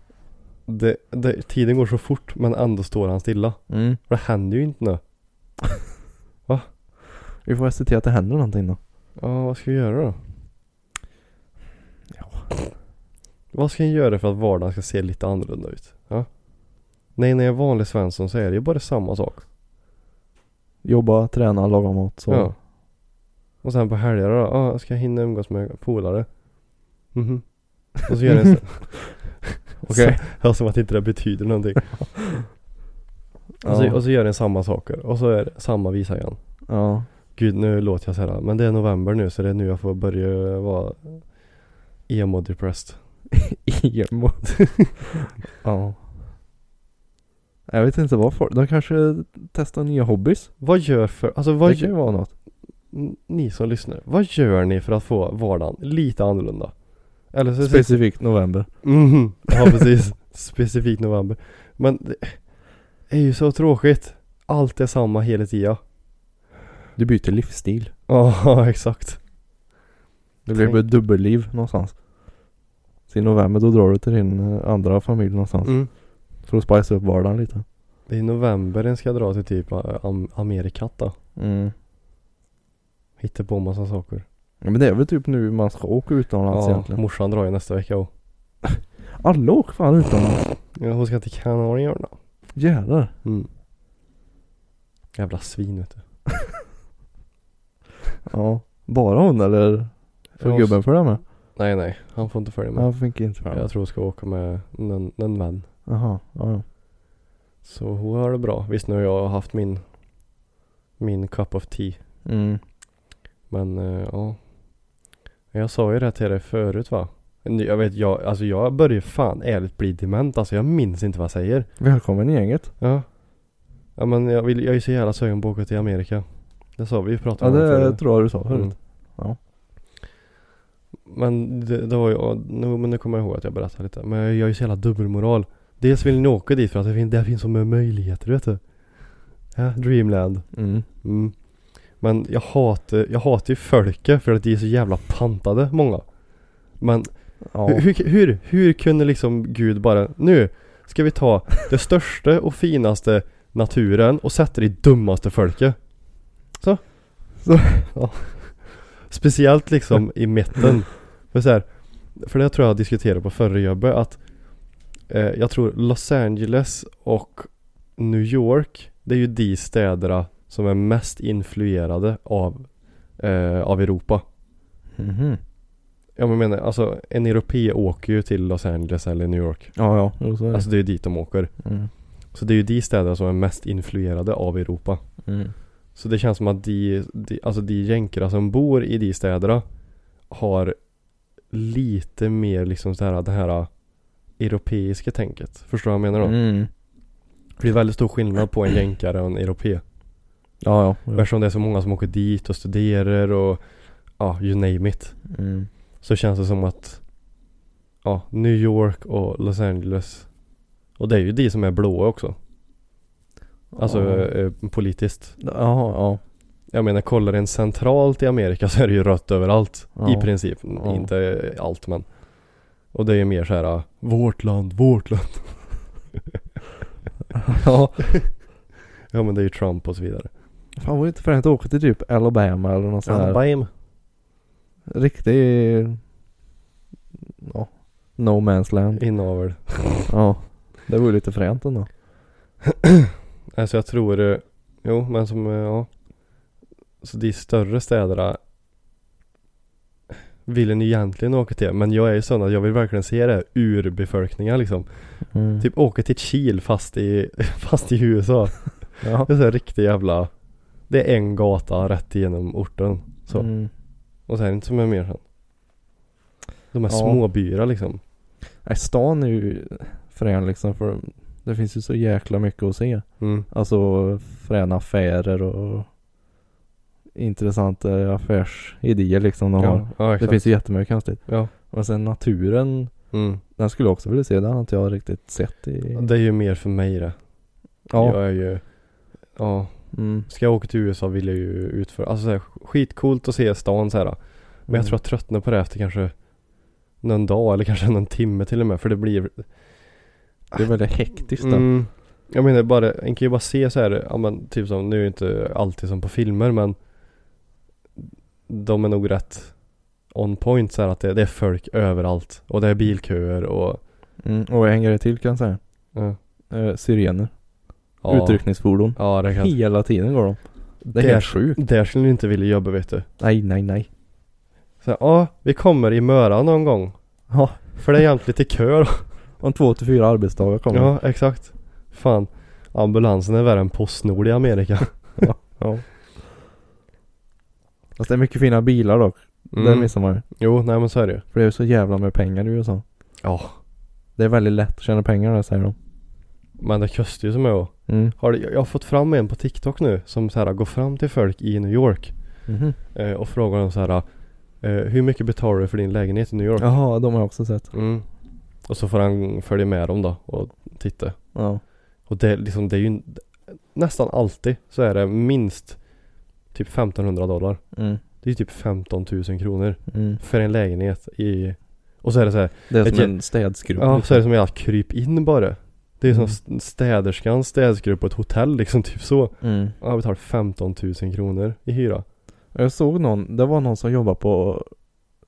[SPEAKER 1] Det, det, tiden går så fort men ändå står han stilla.
[SPEAKER 2] Mm.
[SPEAKER 1] För det händer ju inte nu.
[SPEAKER 2] Vi får se till att det händer någonting då.
[SPEAKER 1] Ja, vad ska vi göra då?
[SPEAKER 2] Ja.
[SPEAKER 1] Vad ska jag göra för att vardagen ska se lite annorlunda ut? Ja? Nej, när jag är vanlig Svensson så är det ju bara samma sak.
[SPEAKER 2] Jobba, träna, laga mat så.
[SPEAKER 1] Ja. Och sen på helger då, ah, ska jag hinna umgås med polare? Mhm. Och så gör jag en sån-
[SPEAKER 2] Okej.
[SPEAKER 1] Så- Ja, som att inte det betyder någonting. och, så,
[SPEAKER 2] Ja.
[SPEAKER 1] och så gör den samma saker. Och så är det samma visa igen.
[SPEAKER 2] ja.
[SPEAKER 1] Gud, nu låter jag så här. Men det är november nu så det är nu jag får börja vara emo-depressed.
[SPEAKER 2] Emo. ja. Jag vet inte varför. De kanske testar nya hobbys.
[SPEAKER 1] Vad gör för, alltså vad
[SPEAKER 2] det kan
[SPEAKER 1] gör,
[SPEAKER 2] ju vara något.
[SPEAKER 1] ni som lyssnar, vad gör ni för att få vardagen lite annorlunda? Eller så
[SPEAKER 2] Specifikt november.
[SPEAKER 1] Mhm, ja precis. Specifikt november. Men det är ju så tråkigt. Allt är samma hela tiden.
[SPEAKER 2] Du byter livsstil.
[SPEAKER 1] Ja, exakt.
[SPEAKER 2] Det blir
[SPEAKER 1] Tänk-
[SPEAKER 2] ett dubbelliv någonstans. Så i november då drar du till din eh, andra familj någonstans.
[SPEAKER 1] Mm.
[SPEAKER 2] För att spicea upp vardagen lite.
[SPEAKER 1] Det är i november den ska dra till typ ä, am- Amerikat då.
[SPEAKER 2] Mm.
[SPEAKER 1] Hitta på massa saker.
[SPEAKER 2] Ja, men det är väl typ nu man ska åka utomlands
[SPEAKER 1] Ja,
[SPEAKER 2] egentligen.
[SPEAKER 1] morsan drar ju nästa vecka och.
[SPEAKER 2] Alla åker fan utomlands.
[SPEAKER 1] Ja, hon ska till Kanarieöarna.
[SPEAKER 2] Jävlar.
[SPEAKER 1] Mm. Jävla svin vet du.
[SPEAKER 2] Ja. Bara hon eller? Får
[SPEAKER 1] Jag-
[SPEAKER 2] gubben följa med?
[SPEAKER 1] Nej nej, han får inte följa med.
[SPEAKER 2] Han fick inte följa med.
[SPEAKER 1] Jag tror hon ska åka med en, en vän.
[SPEAKER 2] Jaha, ja, ja.
[SPEAKER 1] Så hon har det bra. Visst nu har jag haft min, min cup of tea.
[SPEAKER 2] Mm.
[SPEAKER 1] Men eh, ja. Jag sa ju det till dig förut va? Nu, Jag vet, jag, alltså jag börjar fan ärligt bli dement. Alltså jag minns inte vad jag säger.
[SPEAKER 2] Välkommen i gänget.
[SPEAKER 1] Ja. Ja men jag, vill, jag är så jävla sugen på att åka till Amerika. Det sa vi ju
[SPEAKER 2] Ja,
[SPEAKER 1] pratade om det
[SPEAKER 2] det
[SPEAKER 1] förut.
[SPEAKER 2] tror jag du sa förut.
[SPEAKER 1] Mm.
[SPEAKER 2] Ja.
[SPEAKER 1] Men det, det var ju, ja, nu, men nu kommer jag ihåg att jag berättade lite. Men jag är ju så jävla dubbelmoral. Dels vill ni åka dit för att det finns, där finns så många möjligheter vet du. Ja, Dreamland.
[SPEAKER 2] Mm.
[SPEAKER 1] Mm. Men jag hatar, jag hatar ju folket för att de är så jävla pantade många. Men
[SPEAKER 2] Ja.
[SPEAKER 1] hur, hur, hur, hur kunde liksom Gud bara, nu ska vi ta det största och finaste naturen och sätta det i dummaste folket. Så.
[SPEAKER 2] Så.
[SPEAKER 1] Ja. Speciellt liksom i mitten. För, så här, för det tror jag diskuterade på förra jobbet att eh, jag tror Los Angeles och New York, det är ju de städerna som är mest influerade av, eh, av Europa.
[SPEAKER 2] Mhm.
[SPEAKER 1] Ja men jag menar, alltså en europé åker ju till Los Angeles eller New York.
[SPEAKER 2] Ja, ja. Jo, så är det.
[SPEAKER 1] Alltså det är ju dit de åker.
[SPEAKER 2] mm.
[SPEAKER 1] Så det är ju de städerna som är mest influerade av Europa.
[SPEAKER 2] Mm.
[SPEAKER 1] Så det känns som att de, de alltså de jänkarna som bor i de städerna har lite mer liksom så här, det här europeiska tänket. Förstår du vad jag menar då?
[SPEAKER 2] Mm.
[SPEAKER 1] För det är väldigt stor skillnad på en jänkare och en europé.
[SPEAKER 2] Ja, ja.
[SPEAKER 1] Eftersom det är så många som åker dit och studerar och ja, you name it.
[SPEAKER 2] Mm.
[SPEAKER 1] Så känns det som att Ja, New York och Los Angeles Och det är ju de som är blåa också Alltså
[SPEAKER 2] ja.
[SPEAKER 1] eh, politiskt
[SPEAKER 2] Jaha, ja.
[SPEAKER 1] Jag menar kollar en centralt i Amerika så är det ju rött överallt
[SPEAKER 2] Ja.
[SPEAKER 1] I princip,
[SPEAKER 2] Ja.
[SPEAKER 1] inte eh, allt men Och det är ju mer så här ah, Vårt land, vårt land
[SPEAKER 2] ja.
[SPEAKER 1] Ja men det är ju Trump och så vidare
[SPEAKER 2] Fan var det inte fränt att åka till typ Alabama eller något sånt här.
[SPEAKER 1] Alabama
[SPEAKER 2] Riktig... Ja. No man's land.
[SPEAKER 1] Inavel
[SPEAKER 2] Ja. Det vore lite fränt ändå.
[SPEAKER 1] Alltså jag tror, eh, jo men som, eh, ja. Så de större städerna vill en egentligen åka till. Men jag är ju sån att jag vill verkligen se det här ur befolkningen liksom.
[SPEAKER 2] Mm.
[SPEAKER 1] Typ åka till Kil fast i, fast i USA.
[SPEAKER 2] Ja.
[SPEAKER 1] Det är så här riktig jävla, det är en gata rätt igenom orten. Så.
[SPEAKER 2] Mm.
[SPEAKER 1] Och så är det inte som är mer sen. De här
[SPEAKER 2] Ja.
[SPEAKER 1] småbyar liksom.
[SPEAKER 2] Nej, stan är ju frän liksom för det finns ju så jäkla mycket att se.
[SPEAKER 1] Mm.
[SPEAKER 2] Alltså fräna affärer och intressanta affärsidéer liksom de har.
[SPEAKER 1] Ja, ja
[SPEAKER 2] Det
[SPEAKER 1] exakt.
[SPEAKER 2] finns ju jättemycket konstigt.
[SPEAKER 1] Ja.
[SPEAKER 2] Men sen naturen,
[SPEAKER 1] Mm.
[SPEAKER 2] den skulle jag också vilja se. Den har inte jag riktigt sett i...
[SPEAKER 1] Det är ju mer för mig det.
[SPEAKER 2] ja.
[SPEAKER 1] Jag är ju, ja.
[SPEAKER 2] Mm.
[SPEAKER 1] Ska jag åka till USA vill jag ju utföra, alltså såhär, skitcoolt att se stan så här. Men
[SPEAKER 2] Mm.
[SPEAKER 1] jag tror jag tröttnar på det efter kanske någon dag eller kanske någon timme till och med för det blir
[SPEAKER 2] Det är väldigt hektiskt där.
[SPEAKER 1] mm, Jag menar bara, en kan ju bara se så här, ja men typ som, nu är det inte alltid som på filmer men De är nog rätt on point så här att det, det är folk överallt och det är bilköer och
[SPEAKER 2] Mm. Och en grej till kan jag säga.
[SPEAKER 1] ja,
[SPEAKER 2] Eh, sirener.
[SPEAKER 1] ja,
[SPEAKER 2] Utryckningsfordon.
[SPEAKER 1] ja det kan
[SPEAKER 2] Hela tiden går de. Det är
[SPEAKER 1] Där-
[SPEAKER 2] helt sjukt.
[SPEAKER 1] Där skulle du inte vilja jobba vet du
[SPEAKER 2] Nej, nej, nej.
[SPEAKER 1] så här, ja, vi kommer i Möra någon gång
[SPEAKER 2] Ja.
[SPEAKER 1] För det är jämt lite kö då
[SPEAKER 2] Om två till fyra arbetsdagar kommer.
[SPEAKER 1] Ja, exakt. Fan, ambulansen är värre än Postnord i Amerika.
[SPEAKER 2] ja. Fast det är mycket fina bilar dock.
[SPEAKER 1] Mm.
[SPEAKER 2] Det missar man ju.
[SPEAKER 1] Jo, nej men så är det ju.
[SPEAKER 2] För det är ju så jävla med pengar i USA.
[SPEAKER 1] Ja.
[SPEAKER 2] Det är väldigt lätt att tjäna pengar där säger de.
[SPEAKER 1] Men det kostar ju som jag.
[SPEAKER 2] Mm.
[SPEAKER 1] Har det, jag har fått fram en på TikTok nu som så här går fram till folk i New York
[SPEAKER 2] Mhm.
[SPEAKER 1] eh, och frågar dem så här eh, Hur mycket betalar du för din lägenhet i New York?
[SPEAKER 2] Jaha, de har jag också sett.
[SPEAKER 1] Mm. Och så får han följa med dem då och titta.
[SPEAKER 2] Ja.
[SPEAKER 1] Och det, är liksom, det är ju nästan alltid så är det minst typ 1500 dollar.
[SPEAKER 2] Mm.
[SPEAKER 1] Det är ju typ 15 000 kronor
[SPEAKER 2] Mm.
[SPEAKER 1] för en lägenhet i och så är det så här
[SPEAKER 2] Det är
[SPEAKER 1] Ett
[SPEAKER 2] som
[SPEAKER 1] jä-
[SPEAKER 2] en städskrubb.
[SPEAKER 1] Ja,
[SPEAKER 2] liksom.
[SPEAKER 1] så är det som jag kryp in bara. Det är som
[SPEAKER 2] Mm.
[SPEAKER 1] st- städerskans städskrubb på ett hotell liksom, typ så.
[SPEAKER 2] Mm.
[SPEAKER 1] Ja, Jag betalar 15 000 kronor i hyra.
[SPEAKER 2] Jag såg någon, det var någon som jobbade på,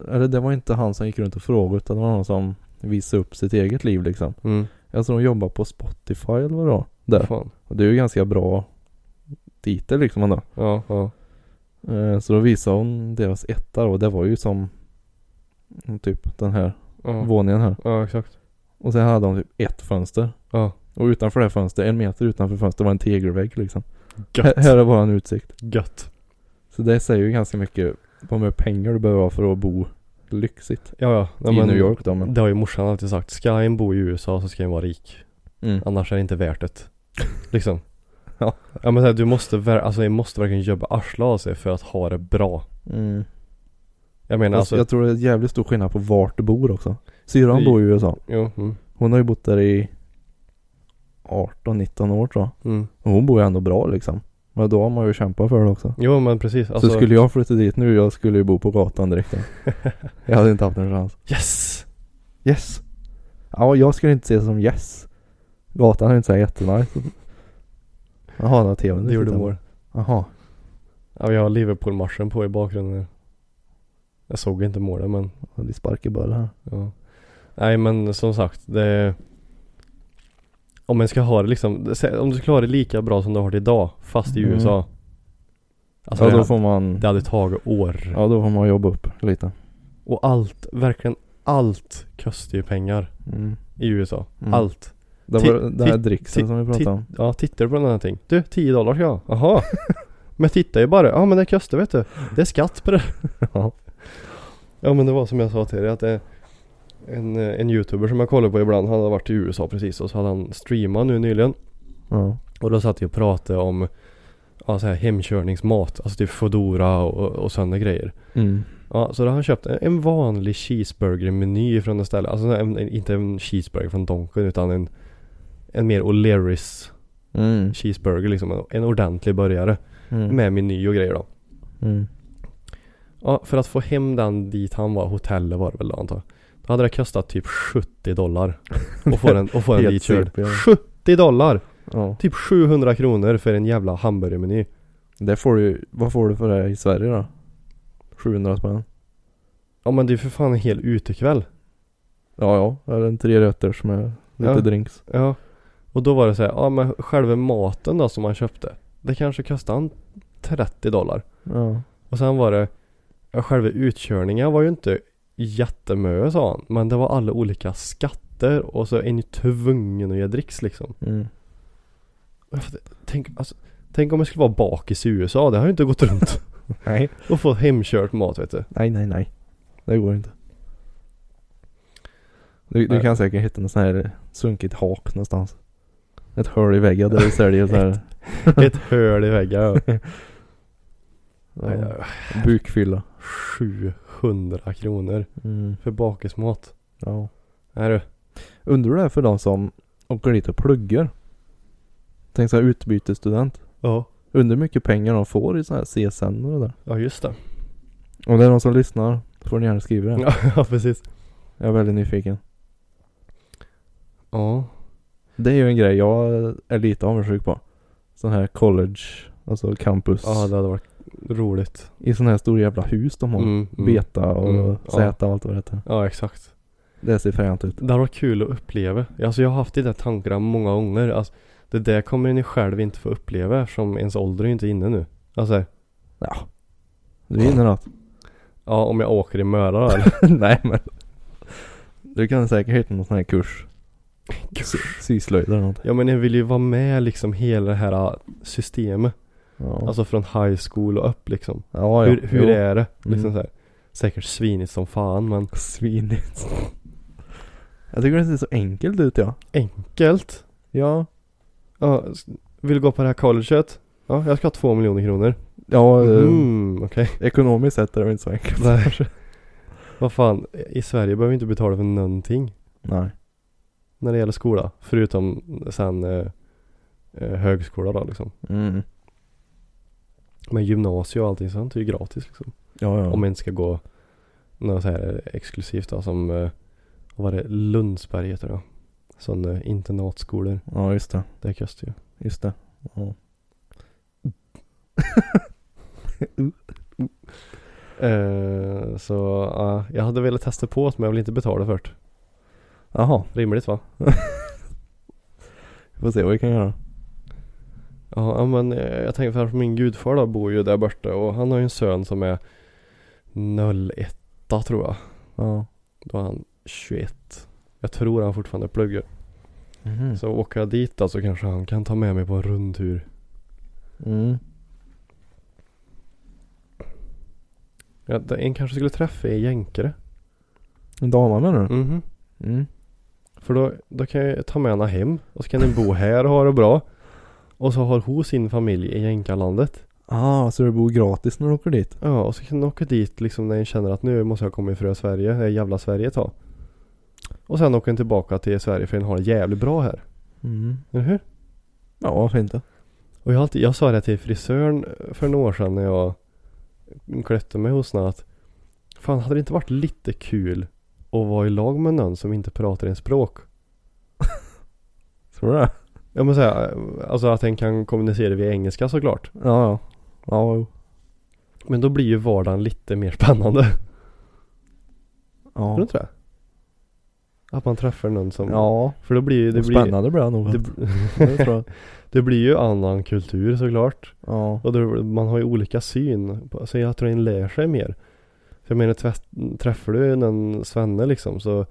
[SPEAKER 2] eller det var inte han som gick runt och frågade utan det var någon som visade upp sitt eget liv liksom.
[SPEAKER 1] Mm.
[SPEAKER 2] Jag tror de jobbar på Spotify eller vad det var. Där.
[SPEAKER 1] Fan.
[SPEAKER 2] Och det är ju ganska bra dit det liksom ändå.
[SPEAKER 1] Ja, ja.
[SPEAKER 2] Eh, Så då visade hon deras etta då. Det var ju som mm, typ den här
[SPEAKER 1] Ja,
[SPEAKER 2] våningen här.
[SPEAKER 1] ja exakt.
[SPEAKER 2] Och sen hade de typ ett fönster.
[SPEAKER 1] Ja.
[SPEAKER 2] Och utanför det här fönstret, en meter utanför fönstret var en tegelvägg liksom. Här,
[SPEAKER 1] Gött.
[SPEAKER 2] här är bara en utsikt.
[SPEAKER 1] Gött.
[SPEAKER 2] Så det säger ju ganska mycket om hur pengar du behöver ha för att bo lyxigt.
[SPEAKER 1] Ja, ja. Nej,
[SPEAKER 2] I
[SPEAKER 1] men-
[SPEAKER 2] New York då men.
[SPEAKER 1] Det har ju morsan alltid sagt. Ska en bo i USA så ska en vara rik.
[SPEAKER 2] Mm.
[SPEAKER 1] Annars är det inte värt det. Liksom.
[SPEAKER 2] Ja.
[SPEAKER 1] Ja men så här, du måste, ver- alltså, jag måste verkligen jobba arslet av sig för att ha det bra.
[SPEAKER 2] Mm.
[SPEAKER 1] Jag menar
[SPEAKER 2] Fast
[SPEAKER 1] alltså.
[SPEAKER 2] Jag tror det är jävligt stor skillnad på vart du bor också. Syrran
[SPEAKER 1] I-
[SPEAKER 2] bor i USA.
[SPEAKER 1] Jo. Mm.
[SPEAKER 2] Hon har ju bott där i 18-19 år tror jag.
[SPEAKER 1] Mm.
[SPEAKER 2] Och hon bor ju ändå bra liksom. Men då har man ju kämpat för det också.
[SPEAKER 1] Jo men precis. Alltså,
[SPEAKER 2] Så skulle jag flytta dit nu, jag skulle ju bo på gatan direkt. då. jag hade inte haft en chans.
[SPEAKER 1] Yes!
[SPEAKER 2] Yes! Ja, jag skulle inte se det som yes. Gatan är inte så här jättenice. Jaha, den har tvn.
[SPEAKER 1] Det gjorde mår.
[SPEAKER 2] Jaha.
[SPEAKER 1] Ja vi har Liverpool-marschen på i bakgrunden här. Jag såg inte målet men.
[SPEAKER 2] Ja, Det sparkar bara här.
[SPEAKER 1] Ja. Nej men som sagt det Om man ska ha det liksom, sä- om du ska ha det lika bra som du har det idag fast i
[SPEAKER 2] Mm.
[SPEAKER 1] USA Alltså
[SPEAKER 2] ja,
[SPEAKER 1] det,
[SPEAKER 2] då får man...
[SPEAKER 1] det hade tagit år
[SPEAKER 2] Ja, då får man jobba upp lite.
[SPEAKER 1] Och allt, verkligen allt kostar ju pengar
[SPEAKER 2] Mm.
[SPEAKER 1] i USA
[SPEAKER 2] Mm.
[SPEAKER 1] Allt
[SPEAKER 2] Det
[SPEAKER 1] Ti-
[SPEAKER 2] var den här
[SPEAKER 1] ti-
[SPEAKER 2] dricksen
[SPEAKER 1] ti-
[SPEAKER 2] som vi pratade om.
[SPEAKER 1] Ja tittar du på den här ting Du 10 dollar ska jag ha. Jaha Men titta ju bara, ja men det kostar vet du Det är skatt på det
[SPEAKER 2] Ja.
[SPEAKER 1] Ja men det var som jag sa till dig att det en, eh, en youtuber som jag kollar på ibland, han hade varit i USA precis och så hade han streamat nu nyligen
[SPEAKER 2] Ja.
[SPEAKER 1] Och då satt vi och pratade om ja, så här hemkörningsmat, alltså typ Foodora och, och sådana grejer.
[SPEAKER 2] Mm.
[SPEAKER 1] Ja, så då har han köpt en, en vanlig cheeseburgermeny från ett ställe. Alltså en, en, inte en cheeseburger från Donken utan en, en mer O'Learys
[SPEAKER 2] Mm.
[SPEAKER 1] cheeseburger liksom. En, en ordentlig burgare
[SPEAKER 2] Mm.
[SPEAKER 1] med meny och grejer då.
[SPEAKER 2] Mm.
[SPEAKER 1] Ja, för att få hem den dit han var, hotellet var det väl då antar jag. Då hade det kostat typ 70 dollar. Och få den, och få den
[SPEAKER 2] Helt
[SPEAKER 1] ditkörd.
[SPEAKER 2] CP, ja.
[SPEAKER 1] 70 dollar!
[SPEAKER 2] Ja.
[SPEAKER 1] Typ 700 kronor för en jävla hamburgermeny.
[SPEAKER 2] Det får du ju- Vad får du för det här i Sverige då? 700 spänn?
[SPEAKER 1] Ja men det är för fan en hel utekväll.
[SPEAKER 2] Ja, ja. Eller en tre rätters med lite
[SPEAKER 1] Ja.
[SPEAKER 2] drinks.
[SPEAKER 1] Ja. Och då var det så här, ja men själva maten då som man köpte. Det kanske kostade en 30 dollar.
[SPEAKER 2] Ja.
[SPEAKER 1] Och sen var det, ja, själva utkörningen var ju inte jättemycket sa han. Men det var alla olika skatter och så är ni tvungen att ge dricks liksom.
[SPEAKER 2] Mm.
[SPEAKER 1] Och jag fattar- Tänk, alltså, tänk om jag skulle vara bakis i USA, det har ju inte gått runt.
[SPEAKER 2] Nej.
[SPEAKER 1] och få hemkört mat vet du.
[SPEAKER 2] Nej, nej, nej. Det går inte. Du, du
[SPEAKER 1] Nej.
[SPEAKER 2] kan säkert hitta något sån här sunkigt hak någonstans. Ett hål i väggen där du säljer så här.
[SPEAKER 1] Ett hål i väggen. ja.
[SPEAKER 2] Ja.
[SPEAKER 1] Ja.
[SPEAKER 2] Bukfylla.
[SPEAKER 1] 700 kronor
[SPEAKER 2] Mm.
[SPEAKER 1] för bakismat.
[SPEAKER 2] Ja.
[SPEAKER 1] Nej du.
[SPEAKER 2] Undrar du det här för de som åker dit och pluggar? Tänk så här utbytesstudent.
[SPEAKER 1] Ja.
[SPEAKER 2] Undrar hur mycket pengar de får i så här CSN och det där.
[SPEAKER 1] Ja just det.
[SPEAKER 2] Om det är någon som lyssnar får ni gärna skriva det.
[SPEAKER 1] ja precis.
[SPEAKER 2] Jag är väldigt nyfiken.
[SPEAKER 1] Ja.
[SPEAKER 2] Det är ju en grej jag är lite avundsjuk på. Sån här college, alltså campus.
[SPEAKER 1] Ja det hade varit roligt.
[SPEAKER 2] I sån här stor jävla hus de har.
[SPEAKER 1] Mm, mm.
[SPEAKER 2] Beta och
[SPEAKER 1] Mm, ja.
[SPEAKER 2] Z och allt vad det heter.
[SPEAKER 1] Ja exakt.
[SPEAKER 2] Det ser fränt ut.
[SPEAKER 1] Det hade varit kul att uppleva. Alltså jag har haft de där tankarna många gånger. Alltså, det där kommer ni själv inte få uppleva eftersom ens ålder är ju inte inne nu. Alltså
[SPEAKER 2] Ja. Du hinner något.
[SPEAKER 1] ja om jag åker i Möra då, eller?
[SPEAKER 2] Nej men. Du kan säkert hitta någon sån här kurs. Sy- Syslöjd eller något.
[SPEAKER 1] Ja men jag vill ju vara med liksom hela det här ah, systemet.
[SPEAKER 2] Ja.
[SPEAKER 1] Alltså från high school och upp liksom.
[SPEAKER 2] ja, ja.
[SPEAKER 1] Hur, hur
[SPEAKER 2] Jo.
[SPEAKER 1] är det? Liksom
[SPEAKER 2] Mm.
[SPEAKER 1] så här. Säkert svinigt som fan men
[SPEAKER 2] Svinigt. Jag tycker det ser så enkelt ut ja.
[SPEAKER 1] enkelt.
[SPEAKER 2] Ja.
[SPEAKER 1] Ja, s- vill gå på det här colleget? Ja, jag ska ha två miljoner kronor.
[SPEAKER 2] Ja, eh,
[SPEAKER 1] Mm, okej.
[SPEAKER 2] ekonomiskt sett är det väl inte så enkelt.
[SPEAKER 1] Vad fan, i Sverige behöver vi inte betala för någonting
[SPEAKER 2] Nej.
[SPEAKER 1] när det gäller skola. Förutom sen eh, eh, högskola då liksom.
[SPEAKER 2] Mm.
[SPEAKER 1] Men gymnasium och allting sånt är ju gratis liksom.
[SPEAKER 2] Ja, ja.
[SPEAKER 1] Om man inte ska gå något så här exklusivt då som, eh, vad var det, Lundsberg heter det då. Sån eh, internatskolor,
[SPEAKER 2] ja, just det.
[SPEAKER 1] det kostar ju.
[SPEAKER 2] Just det. Ja.
[SPEAKER 1] Eh, så ja, jag hade velat testa på det men jag vill inte betala för det.
[SPEAKER 2] Jaha.
[SPEAKER 1] Rimligt va?
[SPEAKER 2] Vi får se vad vi kan göra.
[SPEAKER 1] Ja, ja, men eh, jag tänker för att min gudfar då bor ju där borta och han har ju en son som är 01 tror jag.
[SPEAKER 2] Ja.
[SPEAKER 1] Då är han 21. Jag tror han fortfarande pluggar.
[SPEAKER 2] Mhm.
[SPEAKER 1] Så åker jag dit då så kanske han kan ta med mig på en rundtur.
[SPEAKER 2] Mm.
[SPEAKER 1] Ja, det- en kanske skulle träffa en jänkare.
[SPEAKER 2] En dama menar du?
[SPEAKER 1] Mhm.
[SPEAKER 2] Mm.
[SPEAKER 1] För då, då kan jag ta med henne hem och så kan den bo här och ha det bra. Och så har hon sin familj i jänkarlandet.
[SPEAKER 2] Ah, så du bor gratis när du åker dit?
[SPEAKER 1] Ja, och så kan den åka dit liksom när den känner att nu måste jag komma ifrån Sverige, det här jävla Sverige ett tag. Och sen åker den tillbaka till Sverige för den har det jävligt bra här.
[SPEAKER 2] Mm.
[SPEAKER 1] Eller hur?
[SPEAKER 2] Ja, varför inte?
[SPEAKER 1] Och jag, har alltid, jag sa det till frisören eh, för några år sedan när jag klätte mig hos henne att Fan hade det inte varit lite kul att vara i lag med någon som inte pratar ens språk?
[SPEAKER 2] Tror du det?
[SPEAKER 1] Jag måste säga, alltså att en kan kommunicera via engelska såklart.
[SPEAKER 2] Ja, ja. Ja, jo.
[SPEAKER 1] Men då blir ju vardagen lite mer spännande. Tror du
[SPEAKER 2] Ja.
[SPEAKER 1] inte det? Att man träffar någon som...
[SPEAKER 2] Ja.
[SPEAKER 1] För då blir ju... Det
[SPEAKER 2] Det
[SPEAKER 1] blir,
[SPEAKER 2] Spännande blir det nog.
[SPEAKER 1] Det,
[SPEAKER 2] Det tror jag.
[SPEAKER 1] det blir ju annan kultur såklart.
[SPEAKER 2] Ja.
[SPEAKER 1] Och då, man har ju olika syn. på- Så jag tror en lär sig mer. För jag menar tvätt- träffar du någon svenne liksom så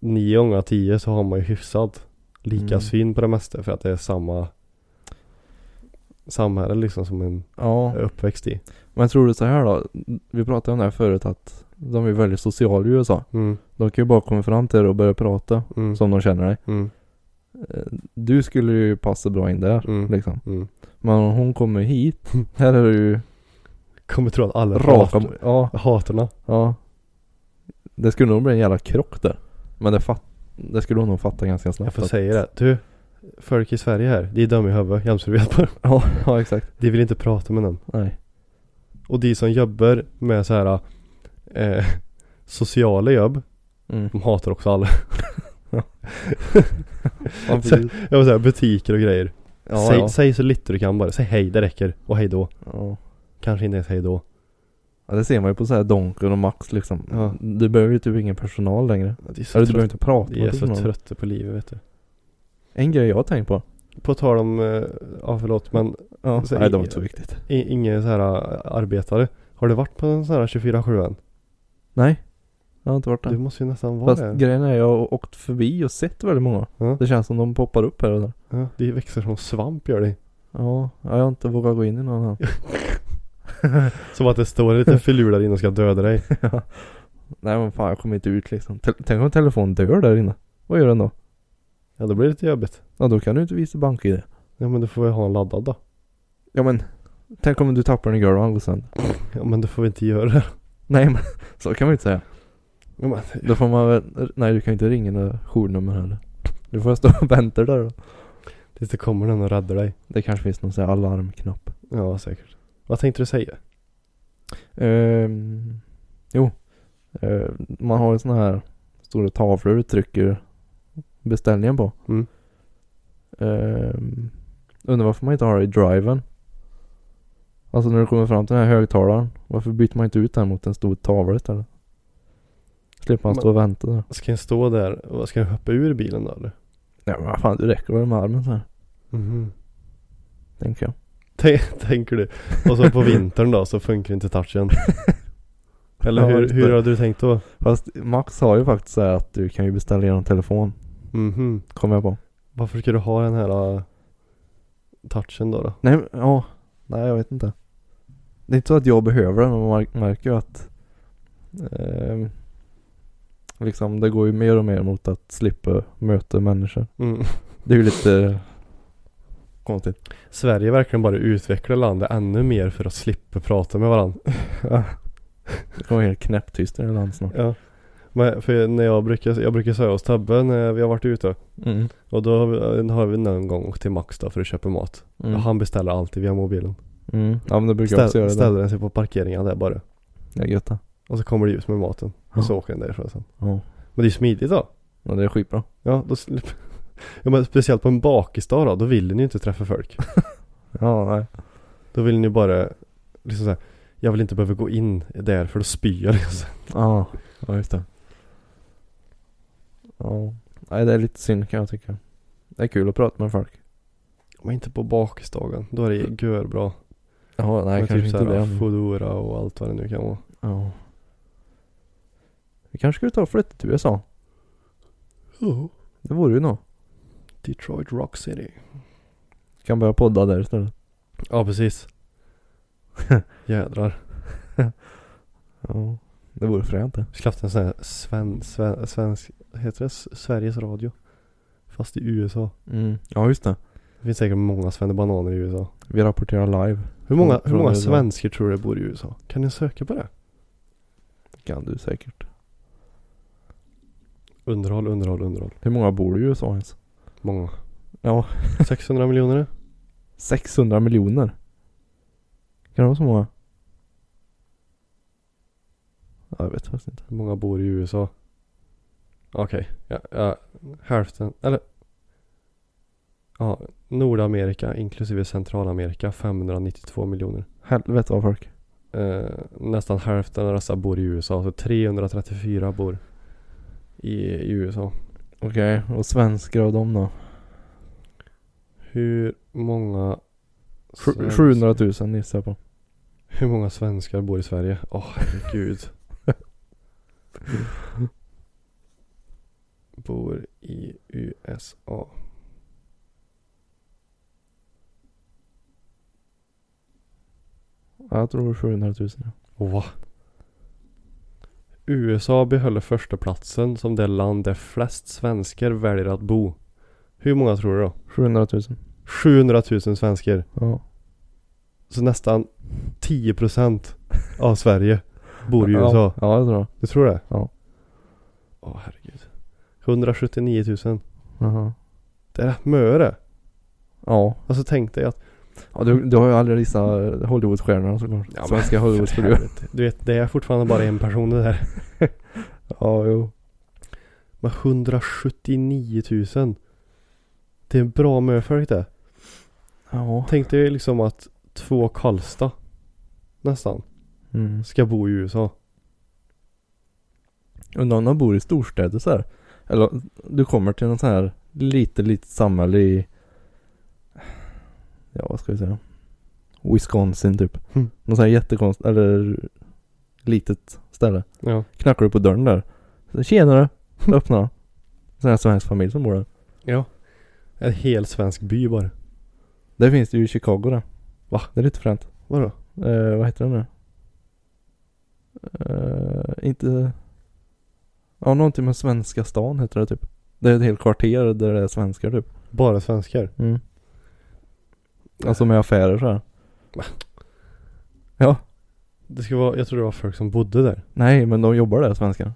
[SPEAKER 1] nio gånger av tio så har man ju hyfsat lika
[SPEAKER 2] Mm.
[SPEAKER 1] syn på det mesta för att det är samma samhälle liksom som en
[SPEAKER 2] Ja.
[SPEAKER 1] är uppväxt i.
[SPEAKER 2] Men tror du så här då? Vi pratade om det här förut att de är väldigt sociala i USA.
[SPEAKER 1] Mm,
[SPEAKER 2] De kan ju bara komma fram till dig och börja prata
[SPEAKER 1] mm,
[SPEAKER 2] som de känner dig.
[SPEAKER 1] mm,
[SPEAKER 2] Eh, Du skulle ju passa bra in där
[SPEAKER 1] Mm.
[SPEAKER 2] liksom.
[SPEAKER 1] mm.
[SPEAKER 2] Men om hon kommer hit, här är det ju
[SPEAKER 1] Kommer tro att alla
[SPEAKER 2] raka...
[SPEAKER 1] hatar-
[SPEAKER 2] Ja,
[SPEAKER 1] hatarna.
[SPEAKER 2] ja. Det skulle nog bli en jävla krock där. Men det, fat, det skulle hon nog fatta ganska snabbt.
[SPEAKER 1] Jag får
[SPEAKER 2] att-
[SPEAKER 1] säga det. Du, folk i Sverige här, de är dumma i huvudet. Jämställdhet på dem.
[SPEAKER 2] Ja, ja exakt.
[SPEAKER 1] De vill inte prata med någon.
[SPEAKER 2] Nej.
[SPEAKER 1] Och de som jobbar med så här eh, sociala jobb
[SPEAKER 2] Mm.
[SPEAKER 1] De hatar också alla.
[SPEAKER 2] Ja, precis.
[SPEAKER 1] Jag vill säga butiker och grejer.
[SPEAKER 2] Ja,
[SPEAKER 1] säg,
[SPEAKER 2] ja.
[SPEAKER 1] säg så lite du kan bara. Säg hej, det räcker. Och hej då.
[SPEAKER 2] Ja.
[SPEAKER 1] Kanske inte ens hej då.
[SPEAKER 2] ja, det ser man ju på så här Donken och Max liksom.
[SPEAKER 1] Ja.
[SPEAKER 2] Du behöver ju typ ingen personal längre.
[SPEAKER 1] Det är så
[SPEAKER 2] Eller du behöver
[SPEAKER 1] trött.
[SPEAKER 2] inte prata
[SPEAKER 1] Jag är
[SPEAKER 2] med
[SPEAKER 1] så
[SPEAKER 2] personal.
[SPEAKER 1] trött på livet vet du.
[SPEAKER 2] En grej jag har tänkt på.
[SPEAKER 1] På tal om, eh, ja förlåt men
[SPEAKER 2] Ja,
[SPEAKER 1] Så
[SPEAKER 2] nej,
[SPEAKER 1] i-
[SPEAKER 2] det var inte så viktigt.
[SPEAKER 1] i- ingen så här eh, arbetare. Har du varit på en sån här 24-7 än?
[SPEAKER 2] Nej, jag har inte varit
[SPEAKER 1] Du
[SPEAKER 2] där.
[SPEAKER 1] måste ju nästan vara
[SPEAKER 2] Fast
[SPEAKER 1] där.
[SPEAKER 2] grejen är jag har åkt förbi och sett väldigt många.
[SPEAKER 1] Ja.
[SPEAKER 2] Det känns som de poppar upp här och där.
[SPEAKER 1] Ja, det växer som svamp gör det.
[SPEAKER 2] Ja, ja, jag har inte vågat gå in i någon än.
[SPEAKER 1] Som att det står en liten filur där inne och ska döda dig.
[SPEAKER 2] Nej men fan jag kommer inte ut liksom. Te- tänk om telefonen dör där inne. Vad gör den då?
[SPEAKER 1] Ja då blir det lite jobbigt.
[SPEAKER 2] Ja då kan du inte visa bank-id.
[SPEAKER 1] Ja men du får väl ha en laddad då.
[SPEAKER 2] Ja men. Tänk om du tappar den i golvet och går sönder.
[SPEAKER 1] Ja men du får väl inte göra det.
[SPEAKER 2] Nej men så kan man ju inte säga.
[SPEAKER 1] Ja, men,
[SPEAKER 2] Då får man väl, nej du kan ju inte ringa några journummer heller. Du får stå och vänta där då.
[SPEAKER 1] tills det kommer någon och räddar dig.
[SPEAKER 2] Det kanske finns någon sån här alarmknapp.
[SPEAKER 1] Ja säkert. Vad tänkte du säga?
[SPEAKER 2] Ehm, jo. Ehm, man har ju såna här stora tavlor du trycker beställningen på.
[SPEAKER 1] Mm.
[SPEAKER 2] Ehm, undrar varför man inte har det i driven. Alltså när du kommer fram till den här högtalaren. Varför byter man inte ut den mot en stor tavla istället? Slipper man stå och vänta där.
[SPEAKER 1] Ska den stå där och ska den hoppa ur bilen då eller?
[SPEAKER 2] Nej men vad fan det räcker väl med armen så här. Tänker jag.
[SPEAKER 1] Tän- Tänker du? Och så på vintern då så funkar inte touchen. Eller
[SPEAKER 2] Ja,
[SPEAKER 1] hur,
[SPEAKER 2] just
[SPEAKER 1] hur
[SPEAKER 2] det.
[SPEAKER 1] har du tänkt då?
[SPEAKER 2] Fast Max har ju faktiskt så här att du kan ju beställa genom telefon.
[SPEAKER 1] Mhm.
[SPEAKER 2] Kommer jag på.
[SPEAKER 1] Varför ska du ha den här äh, touchen då? då?
[SPEAKER 2] Nej, men- ja. Nej, jag vet inte. Det är inte så att jag behöver det, men man mär- märker ju att ehm, liksom det går ju mer och mer mot att slippa möta människor.
[SPEAKER 1] Mm.
[SPEAKER 2] Det är ju lite konstigt.
[SPEAKER 1] Sverige verkligen bara utvecklar landet ännu mer för att slippa prata med varandra.
[SPEAKER 2] Det kommer helt knäpptyst i det här landet snart.
[SPEAKER 1] Ja. Men för när jag brukar, jag brukar säga hos Tabbe när vi har varit ute.
[SPEAKER 2] Mm.
[SPEAKER 1] Och då har vi, har vi någon gång åkt till Max då för att köpa mat.
[SPEAKER 2] Mm.
[SPEAKER 1] Och han beställer alltid via mobilen.
[SPEAKER 2] Mm. Ja men det brukar jag också göra.
[SPEAKER 1] Ställ,
[SPEAKER 2] det. Det
[SPEAKER 1] ställer den sig på parkeringen där bara.
[SPEAKER 2] Ja, gött det.
[SPEAKER 1] Och så kommer det ut med maten. Och så åker den därifrån sen.
[SPEAKER 2] Ja.
[SPEAKER 1] Men det är smidigt då.
[SPEAKER 2] ja, det är skitbra.
[SPEAKER 1] Ja, då slipper... ja men speciellt på en bakisdag då, då vill den ju inte träffa folk.
[SPEAKER 2] Ja, nej.
[SPEAKER 1] Då vill den ju bara liksom såhär, jag vill inte behöva gå in där för då spyr jag liksom.
[SPEAKER 2] Ja, ja just det. Ja. Nej, det är lite synd kan jag tycka. Det är kul att prata med folk.
[SPEAKER 1] Men inte på bakisdagen. Då är det görbra.
[SPEAKER 2] Ja, Mm. nej
[SPEAKER 1] Med
[SPEAKER 2] kanske
[SPEAKER 1] typ
[SPEAKER 2] inte det. men-
[SPEAKER 1] Foodora och allt vad det nu kan vara.
[SPEAKER 2] Ja. Vi kanske skulle ta och flytta till USA. Oh. Det vore ju något.
[SPEAKER 1] Detroit Rock City.
[SPEAKER 2] Kan börja podda där istället.
[SPEAKER 1] Ja, precis. Jädrar.
[SPEAKER 2] Ja. Det vore fränt det.
[SPEAKER 1] Vi skulle haft en sån här sven, sven, svensk, heter det S- Sveriges Radio? Fast i USA.
[SPEAKER 2] Mm. Ja just det.
[SPEAKER 1] Det finns säkert många svennebananer i USA.
[SPEAKER 2] Vi rapporterar live.
[SPEAKER 1] Hur många,
[SPEAKER 2] Mm, Från-
[SPEAKER 1] hur många
[SPEAKER 2] från USA.
[SPEAKER 1] svenskar tror du det bor i USA? Kan ni söka på det?
[SPEAKER 2] Kan du säkert.
[SPEAKER 1] Underhåll, underhåll, underhåll.
[SPEAKER 2] Hur många bor du i USA ens?
[SPEAKER 1] Många.
[SPEAKER 2] Ja.
[SPEAKER 1] 600 miljoner?
[SPEAKER 2] 600 miljoner. Kan det vara så många? Ja, jag vet faktiskt inte.
[SPEAKER 1] Hur många bor i USA? Okej, ja, ja, hälften, eller Ja, Nordamerika inklusive Centralamerika 592 miljoner.
[SPEAKER 2] Helvete vad folk.
[SPEAKER 1] Eh, nästan hälften av dessa bor i USA, så 334 bor i, i USA.
[SPEAKER 2] Okej, och svenskar av dem då?
[SPEAKER 1] Hur många
[SPEAKER 2] Sju-
[SPEAKER 1] svensk-
[SPEAKER 2] 700 000 gissar jag på.
[SPEAKER 1] Hur många svenskar bor i Sverige? Åh herregud. bor i USA.
[SPEAKER 2] Ja, jag tror 700 000 ja.
[SPEAKER 1] Va? USA behöll förstaplatsen som det land där flest svenskar väljer att bo. Hur många tror du då?
[SPEAKER 2] 700 000.
[SPEAKER 1] 700 000 svenskar.
[SPEAKER 2] Ja.
[SPEAKER 1] Så nästan 10% av Sverige bor i USA.
[SPEAKER 2] Ja, ja jag tror det.
[SPEAKER 1] Du tror det?
[SPEAKER 2] Ja.
[SPEAKER 1] Åh herregud. 179 000.
[SPEAKER 2] Jaha.
[SPEAKER 1] Det är rätt mycket det.
[SPEAKER 2] Ja.
[SPEAKER 1] Alltså tänk dig att
[SPEAKER 2] ja du, du har ju aldrig gissat Hollywoodstjärnorna såklart.
[SPEAKER 1] Ja, men
[SPEAKER 2] Svenska
[SPEAKER 1] För
[SPEAKER 2] Hollywoodstjärnor.
[SPEAKER 1] helvete. Du vet, det är fortfarande bara en person det där.
[SPEAKER 2] Ja, jo.
[SPEAKER 1] Men 179 000. Det är en bra möfolk det.
[SPEAKER 2] Ja.
[SPEAKER 1] Tänk dig liksom att två Karlstad nästan
[SPEAKER 2] Mm.
[SPEAKER 1] ska bo i USA.
[SPEAKER 2] Undrar om de bor i storstäder så här. Eller du kommer till någon sån här lite, lite samhälle i... Ja, vad ska vi säga? Wisconsin typ.
[SPEAKER 1] Mm.
[SPEAKER 2] Någon sån här jättekonst... Eller litet ställe.
[SPEAKER 1] Ja.
[SPEAKER 2] Knackar du på dörren där. Så, Tjenare! Så öppnar han. Sån här svensk familj som bor där.
[SPEAKER 1] Ja. En hel svensk by bara.
[SPEAKER 2] Där finns det ju i Chicago där. Va? Det är lite fränt.
[SPEAKER 1] Vadå?
[SPEAKER 2] Eh, vad heter den nu? Eh, inte... Ja, någonting med Svenska stan heter det typ. Det är ett helt kvarter där det är svenskar typ.
[SPEAKER 1] Bara svenskar?
[SPEAKER 2] Mm. Alltså med affärer så här.
[SPEAKER 1] Va?
[SPEAKER 2] Ja.
[SPEAKER 1] Det ska vara, jag tror det var folk som bodde där.
[SPEAKER 2] Nej, men de jobbar där, svenskar.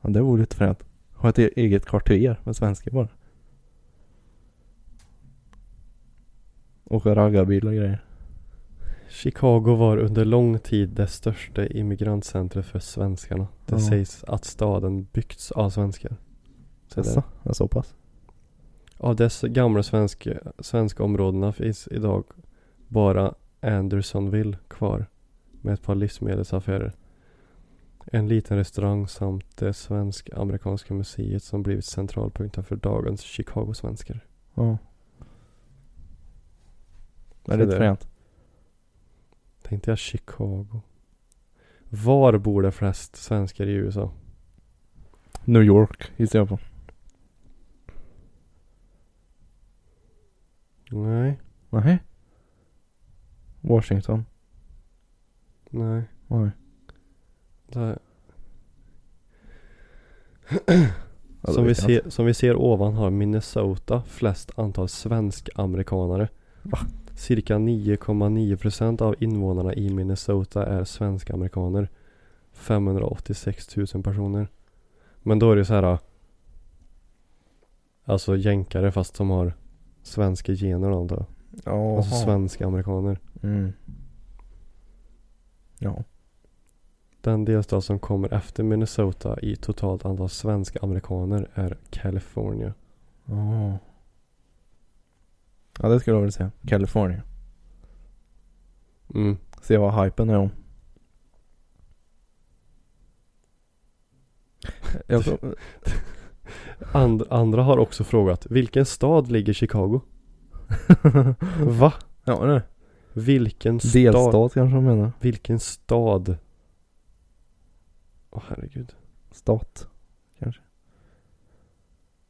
[SPEAKER 2] Ja, det vore lite fränt. Ha ett e- eget kvarter med svenskar bara. Åka raggarbil och grejer.
[SPEAKER 1] Chicago var under lång tid det största immigrantcentret för svenskarna. Det
[SPEAKER 2] Ja.
[SPEAKER 1] sägs att staden byggts av svenskar. Så där.
[SPEAKER 2] Jaså, ja, så pass.
[SPEAKER 1] Av dessa gamla svenska, svenska områdena finns idag bara Andersonville kvar med ett par livsmedelsaffärer. En liten restaurang samt det svensk-amerikanska museet som blivit centralpunkten för dagens Chicago-svenskar.
[SPEAKER 2] Ja. Det
[SPEAKER 1] Så
[SPEAKER 2] är lite
[SPEAKER 1] det-
[SPEAKER 2] fränt.
[SPEAKER 1] Tänkte jag Chicago. Var bor det flest svenskar i USA?
[SPEAKER 2] New York gissar jag på.
[SPEAKER 1] Nej,
[SPEAKER 2] Nej. Washington.
[SPEAKER 1] nej.
[SPEAKER 2] Nej.
[SPEAKER 1] Det,
[SPEAKER 2] Ja, det
[SPEAKER 1] som, vi
[SPEAKER 2] vet Alltså, jag inte.
[SPEAKER 1] ser, som vi ser ovan har Minnesota flest antal svensk-amerikanare. Cirka 9,9% av invånarna i Minnesota är svensk-amerikaner. 586 000 personer. Men då är det så här. Alltså jänkare fast som har svenska gener då antar jag.
[SPEAKER 2] Jaha.
[SPEAKER 1] Alltså svenska amerikaner.
[SPEAKER 2] Mm. Ja.
[SPEAKER 1] Den delstat som kommer efter Minnesota i totalt antal svenska amerikaner är California.
[SPEAKER 2] Oh. Ja, det skulle jag vilja säga. California.
[SPEAKER 1] Mm.
[SPEAKER 2] Se vad hypen är om. Jag kom,
[SPEAKER 1] And, andra har också frågat, vilken stad ligger Chicago? Va?
[SPEAKER 2] Ja det.
[SPEAKER 1] Vilken stad?
[SPEAKER 2] Delstat kanske de menar.
[SPEAKER 1] Vilken stad? Åh herregud.
[SPEAKER 2] Stat.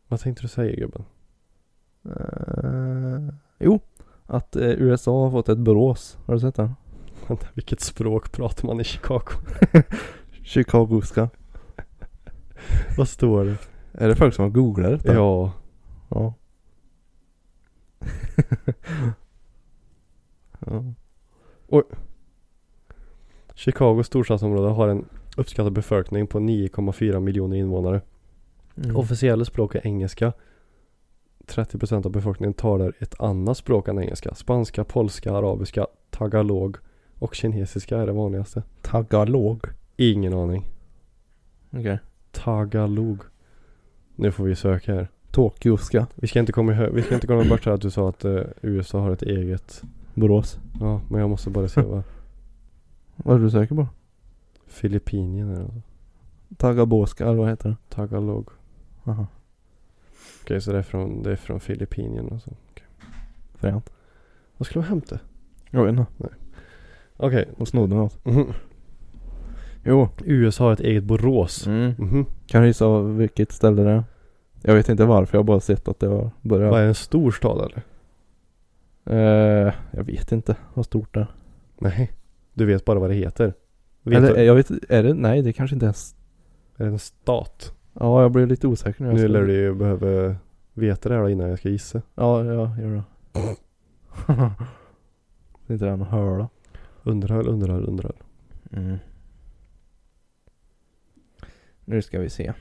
[SPEAKER 1] Vad tänkte du säga gubben?
[SPEAKER 2] Eh, jo. Att eh, USA har fått ett brås. Har du sett den?
[SPEAKER 1] Vänta, Vilket språk pratar man i Chicago?
[SPEAKER 2] Chicagoska.
[SPEAKER 1] Vad står det?
[SPEAKER 2] Är det folk som har googlat detta?
[SPEAKER 1] Ja.
[SPEAKER 2] Ja. ja.
[SPEAKER 1] Chicago storstadsområde har en uppskattad befolkning på 9,4 miljoner invånare.
[SPEAKER 2] Mm.
[SPEAKER 1] Officiella språk är engelska. 30% av befolkningen talar ett annat språk än engelska. Spanska, polska, arabiska, tagalog och kinesiska är det vanligaste.
[SPEAKER 2] Tagalog.
[SPEAKER 1] Ingen aning.
[SPEAKER 2] Okej.
[SPEAKER 1] Tagalog. Nu får vi söka här.
[SPEAKER 2] Tokyoska.
[SPEAKER 1] Vi ska inte komma, ihö- vi ska inte komma bort här att du sa att eh, USA har ett eget.
[SPEAKER 2] Borås.
[SPEAKER 1] Ja, men jag måste bara se vad
[SPEAKER 2] Vad är det du söker på?
[SPEAKER 1] Filippinien är. Alltså.
[SPEAKER 2] Tagaboska eller vad heter det?
[SPEAKER 1] Tagalog.
[SPEAKER 2] Aha.
[SPEAKER 1] Okej, så det är från, det är från Filippinien alltså.
[SPEAKER 2] Fränt.
[SPEAKER 1] Vad skulle de hämta?
[SPEAKER 2] Jag vet inte.
[SPEAKER 1] Okej.
[SPEAKER 2] De snodde något.
[SPEAKER 1] Mhm.
[SPEAKER 2] Jo.
[SPEAKER 1] USA har ett eget Borås.
[SPEAKER 2] Mm.
[SPEAKER 1] Mhm.
[SPEAKER 2] Kan du gissa vilket ställe det är? Jag vet inte varför, jag har bara sett att det har börjat.
[SPEAKER 1] Vad är det, en stor stad eller?
[SPEAKER 2] Eh, jag vet inte vad stort det är.
[SPEAKER 1] Nej. Du vet bara vad det heter. Vet
[SPEAKER 2] Eller
[SPEAKER 1] du,
[SPEAKER 2] jag vet är det, nej det kanske inte ens.
[SPEAKER 1] är det en stat?
[SPEAKER 2] Ja jag blev lite osäker när jag
[SPEAKER 1] Nu
[SPEAKER 2] såg
[SPEAKER 1] lär
[SPEAKER 2] det.
[SPEAKER 1] du ju behöva veta det här då innan jag ska gissa.
[SPEAKER 2] Ja, ja, gör det. det är inte den att höra.
[SPEAKER 1] Underhåll, underhåll, underhåll.
[SPEAKER 2] Mm. Nu ska vi se.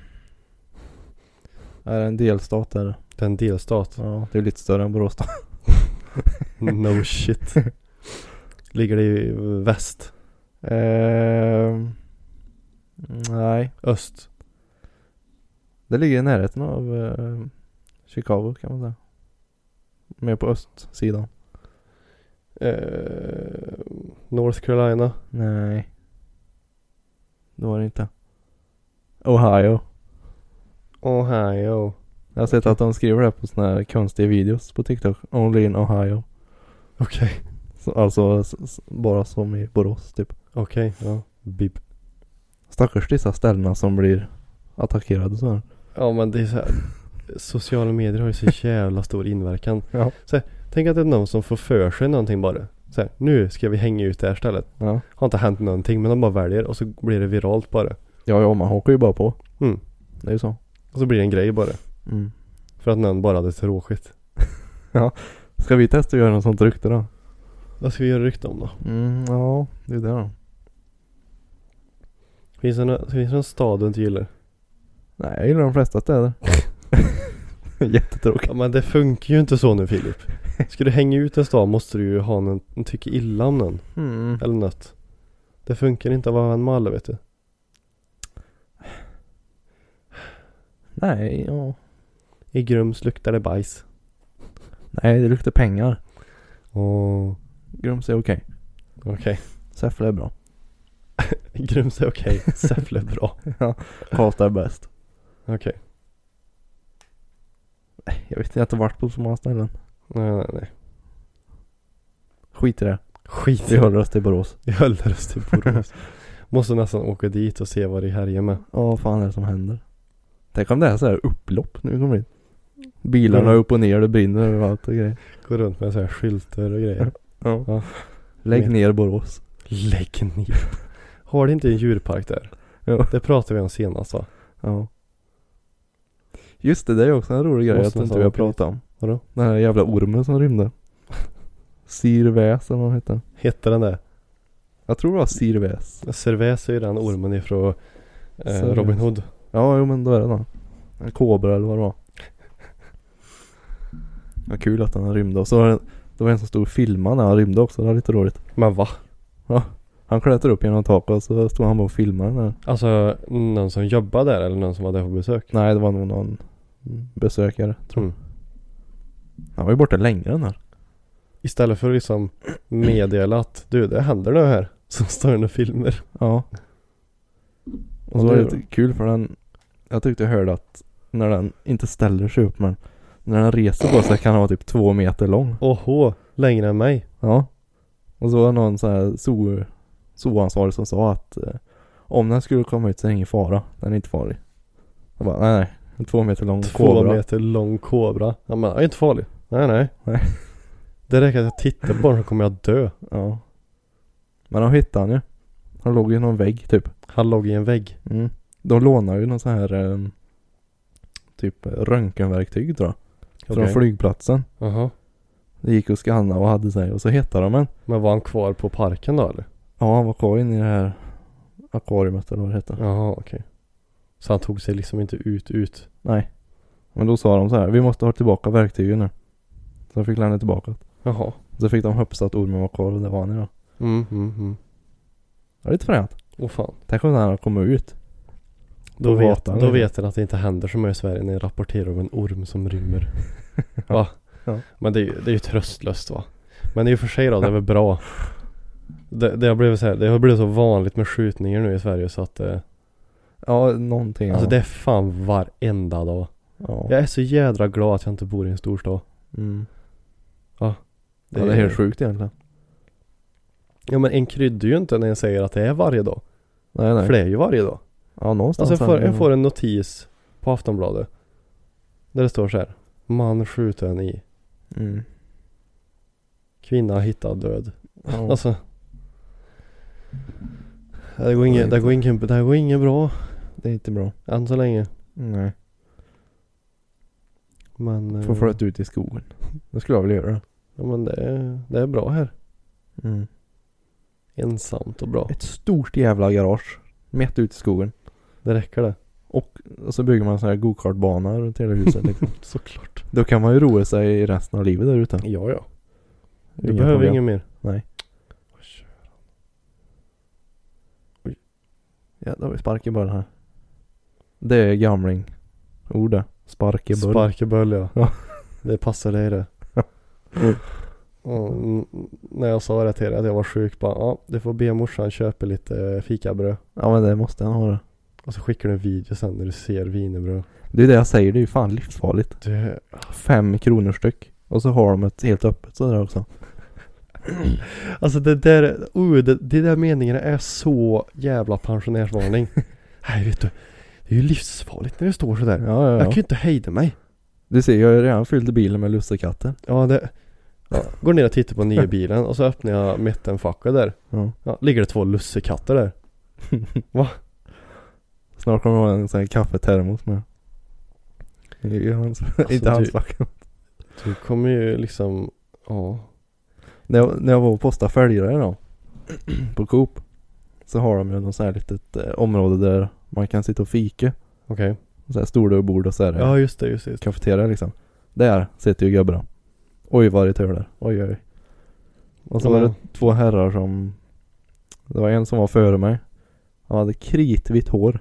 [SPEAKER 2] Är det en delstat där?
[SPEAKER 1] Det är en delstat.
[SPEAKER 2] Ja, det är lite större än Borås då.
[SPEAKER 1] No shit. Ligger det i väst?
[SPEAKER 2] Ehm, nej,
[SPEAKER 1] Öst?
[SPEAKER 2] det ligger i närheten av eh, Chicago kan man säga. Mer på östsidan.
[SPEAKER 1] Eh, North Carolina?
[SPEAKER 2] Nej. Det var det inte. Ohio.
[SPEAKER 1] Ohio?
[SPEAKER 2] Jag har sett att de skriver det på såna här konstiga videos på TikTok. Only in Ohio.
[SPEAKER 1] Okej.
[SPEAKER 2] Så, alltså s- s- bara som i Borås typ.
[SPEAKER 1] Okej, ja. Bib.
[SPEAKER 2] Stackars dessa ställena som blir attackerade så här.
[SPEAKER 1] Ja men det är så här. Sociala medier har ju så jävla stor inverkan.
[SPEAKER 2] Ja.
[SPEAKER 1] Så här, tänk att det är någon som får för sig någonting bara. Så här, nu ska vi hänga ut det här stället.
[SPEAKER 2] Ja.
[SPEAKER 1] Har inte hänt någonting men de bara väljer och så blir det viralt bara.
[SPEAKER 2] Ja, ja, man hakar ju bara på.
[SPEAKER 1] Mm.
[SPEAKER 2] Det är ju så.
[SPEAKER 1] Och så blir det en grej bara.
[SPEAKER 2] Mm.
[SPEAKER 1] För att någon bara hade tråkigt.
[SPEAKER 2] Ska vi testa att göra något sånt rykte då?
[SPEAKER 1] Vad ska vi göra rykte om då?
[SPEAKER 2] Mm, ja, det är det då.
[SPEAKER 1] Finns det någon, finns det någon stad du inte gillar?
[SPEAKER 2] Nej, jag gillar de flesta städer. Jättetråkigt.
[SPEAKER 1] Ja men det funkar ju inte så nu Filip. Ska du hänga ut en stad måste du ju ha någon, tycka illa om någon.
[SPEAKER 2] Mm.
[SPEAKER 1] Eller något. Det funkar inte att vara vän med alla vet du.
[SPEAKER 2] Nej, ja.
[SPEAKER 1] I Grums luktar det bajs.
[SPEAKER 2] Nej, det luktar pengar.
[SPEAKER 1] Åh.
[SPEAKER 2] Grums är okej.
[SPEAKER 1] Okej.
[SPEAKER 2] Säffle är bra.
[SPEAKER 1] Grums är okej. Säffle är bra.
[SPEAKER 2] Karlstad är bäst.
[SPEAKER 1] Okej.
[SPEAKER 2] Nej, Jag vet inte, jag har inte varit på så många ställen.
[SPEAKER 1] Nej nej nej.
[SPEAKER 2] Skit i det.
[SPEAKER 1] Skit
[SPEAKER 2] Vi håller oss till Borås.
[SPEAKER 1] Vi håller oss till Borås. Måste nästan åka dit och se vad det härjar med.
[SPEAKER 2] Ja, vad fan är det som händer? Tänk om det är så här upplopp när vi kommer hit. Bilarna
[SPEAKER 1] Mm.
[SPEAKER 2] upp och ner, det brinner överallt och grejer.
[SPEAKER 1] Gå runt med så här skyltar och grejer.
[SPEAKER 2] Ja.
[SPEAKER 1] Ja.
[SPEAKER 2] Lägg ner Borås.
[SPEAKER 1] Lägg ner. Har det inte en djurpark där?
[SPEAKER 2] Ja.
[SPEAKER 1] Det pratade vi om senast va?
[SPEAKER 2] Ja. Just det, det är också en rolig grej
[SPEAKER 1] Måste
[SPEAKER 2] att inte
[SPEAKER 1] nästan
[SPEAKER 2] vi har
[SPEAKER 1] åka dit.
[SPEAKER 2] pratat om.
[SPEAKER 1] Vadå?
[SPEAKER 2] Den här jävla ormen som rymde. Sirväs eller vad han hette.
[SPEAKER 1] Hette den det?
[SPEAKER 2] Jag tror det var Sirväs.
[SPEAKER 1] Cervais är ju den ormen ifrån eh,
[SPEAKER 2] Cervais.
[SPEAKER 1] Robin Hood.
[SPEAKER 2] Ja, jo men då är det den. En kobra eller vad det var. Ja, kul att den rymde. Och så var det, det var en som stod och filmade när han rymde också. Det var lite roligt.
[SPEAKER 1] Men va?
[SPEAKER 2] Han klättrade upp genom taket och så stod han bara och filmade den här.
[SPEAKER 1] Alltså någon som jobbade där eller någon som var där på besök?
[SPEAKER 2] Nej, det var nog någon besökare.
[SPEAKER 1] Tror mm.
[SPEAKER 2] Han var ju borta längre den här.
[SPEAKER 1] Istället för att liksom meddela att du det händer nu här. Så står det och filmer.
[SPEAKER 2] Ja. Och
[SPEAKER 1] Ja,
[SPEAKER 2] så var
[SPEAKER 1] det
[SPEAKER 2] det
[SPEAKER 1] var
[SPEAKER 2] lite kul för den. Jag tyckte jag hörde att när den inte ställer sig upp men när den reser på sig kan den vara typ två meter lång.
[SPEAKER 1] Åhå, längre än mig.
[SPEAKER 2] Ja. Och så var det någon så här zoo, zooansvarig som sa att eh, om den skulle komma ut så är det ingen fara. Den är inte farlig. Jag bara nej nej. En två meter lång
[SPEAKER 1] Två
[SPEAKER 2] kobra.
[SPEAKER 1] meter lång kobra. Ja, men det är inte farlig. Nej, nej.
[SPEAKER 2] Nej.
[SPEAKER 1] Det räcker att jag tittar på den så kommer jag dö.
[SPEAKER 2] Ja. Men de hittade han ju. Han låg i någon vägg typ.
[SPEAKER 1] Han låg i en vägg.
[SPEAKER 2] Mm. De lånar ju någon sån här eh, typ röntgenverktyg tror jag. Från
[SPEAKER 1] Okej.
[SPEAKER 2] flygplatsen.
[SPEAKER 1] Jaha.
[SPEAKER 2] Det gick och skannade och hade sig och så hittade de en.
[SPEAKER 1] Men var han kvar på parken då eller?
[SPEAKER 2] Ja han var kvar inne i det här akvariet eller vad det hette.
[SPEAKER 1] Jaha, okej. Så han tog sig liksom inte ut, ut.
[SPEAKER 2] Nej. Men då sa de så här. Vi måste ha tillbaka verktygen nu. Så de fick lämna tillbaka.
[SPEAKER 1] Jaha.
[SPEAKER 2] Så fick de hoppas att ormen var kvar och det var han ju då.
[SPEAKER 1] Mm, mm, mm.
[SPEAKER 2] Ja, lite fränt.
[SPEAKER 1] Åh fan.
[SPEAKER 2] Tänk om den hade kommit ut.
[SPEAKER 1] Då
[SPEAKER 2] På
[SPEAKER 1] vet,
[SPEAKER 2] gatan,
[SPEAKER 1] då
[SPEAKER 2] eller?
[SPEAKER 1] vet den att det inte händer så mycket i Sverige när jag rapporterar om en orm som rymmer. Va?
[SPEAKER 2] Ja.
[SPEAKER 1] Men det är, ju- det är ju tröstlöst va? Men i och för sig då, det är väl bra. Det, det, har blivit så här, det har blivit så vanligt med skjutningar nu i Sverige så att eh,
[SPEAKER 2] Ja, någonting.
[SPEAKER 1] Alltså
[SPEAKER 2] ja.
[SPEAKER 1] det är fan varenda dag.
[SPEAKER 2] Ja.
[SPEAKER 1] Jag är så jädra glad att jag inte bor i en storstad.
[SPEAKER 2] Mm.
[SPEAKER 1] Ja.
[SPEAKER 2] Det, ja, det är helt sjukt egentligen.
[SPEAKER 1] Ja men en kryddar ju inte när jag säger att det är varje dag.
[SPEAKER 2] Nej, nej.
[SPEAKER 1] För det är ju varje dag.
[SPEAKER 2] Ja, Mm. någonstans.
[SPEAKER 1] Alltså jag
[SPEAKER 2] här.
[SPEAKER 1] får, jag får en notis på Aftonbladet. Där det står så här. Man skjuten i.
[SPEAKER 2] Mm.
[SPEAKER 1] Kvinna hittad död.
[SPEAKER 2] Ja.
[SPEAKER 1] Alltså. Det går inget, det går inget, det här går inget bra.
[SPEAKER 2] det är inte bra.
[SPEAKER 1] Än så länge.
[SPEAKER 2] Nej.
[SPEAKER 1] Men. eh,
[SPEAKER 2] Får flytta ut i skogen. Det skulle jag vilja göra.
[SPEAKER 1] Ja men det är, det är bra här.
[SPEAKER 2] Mm.
[SPEAKER 1] Ensamt och bra.
[SPEAKER 2] Ett stort jävla garage. Mitt ute i skogen.
[SPEAKER 1] Det räcker det.
[SPEAKER 2] Och, och så bygger man så här gokartbana runt hela huset liksom.
[SPEAKER 1] Såklart.
[SPEAKER 2] Då kan man ju roa sig i resten av livet där ute.
[SPEAKER 1] Ja ja. Du
[SPEAKER 2] Inga
[SPEAKER 1] behöver
[SPEAKER 2] problem.
[SPEAKER 1] inget mer.
[SPEAKER 2] Jävlar vad vi sparkar bara här. Det är gamling. Ord det. Spark i bull.
[SPEAKER 1] Sparkeböll ja.
[SPEAKER 2] Ja.
[SPEAKER 1] Det passar dig det.
[SPEAKER 2] Mm.
[SPEAKER 1] Och n- när jag sa det till dig att jag var sjuk bara, ja du får be morsan köpa lite eh, fikabröd.
[SPEAKER 2] Ja men det måste han ha det.
[SPEAKER 1] Och så skickar du en video sen när du ser wienerbröd.
[SPEAKER 2] Det är det jag säger, det är ju fan livsfarligt.
[SPEAKER 1] Det,
[SPEAKER 2] Fem kronor styck. Och så har de ett helt öppet sådär också.
[SPEAKER 1] alltså det där, oh, det, det där meningarna är så jävla pensionärsvarning. Nej vet du, det är ju livsfarligt när du står sådär.
[SPEAKER 2] Ja
[SPEAKER 1] Jag
[SPEAKER 2] ja
[SPEAKER 1] kan
[SPEAKER 2] ja.
[SPEAKER 1] ju inte hejda mig.
[SPEAKER 2] Du ser, jag har ju redan fyllt bilen med lussekatter.
[SPEAKER 1] Ja det, ja, går ner och tittar på nya bilen och så öppnar jag mittenfacket där.
[SPEAKER 2] Ja.
[SPEAKER 1] Ja, ligger det två lussekatter där.
[SPEAKER 2] Snart kommer jag ha en sån här kaffetermos med. Alltså, I hans, inte
[SPEAKER 1] du-
[SPEAKER 2] hans fack.
[SPEAKER 1] Du kommer ju liksom, ja.
[SPEAKER 2] När jag, när jag var och postade följare då. På Coop. Så har de ju något sånt här litet eh, område där man kan sitta och fika.
[SPEAKER 1] Okej.
[SPEAKER 2] Så här stol och bord och så här. eh,
[SPEAKER 1] Ja just det, just det. Just. det.
[SPEAKER 2] kafeteria liksom. Där sitter ju gubbarna. Oj vad det törlar. Oj oj. Och så var det två herrar som. Det var en som var före mig. Han hade kritvitt hår.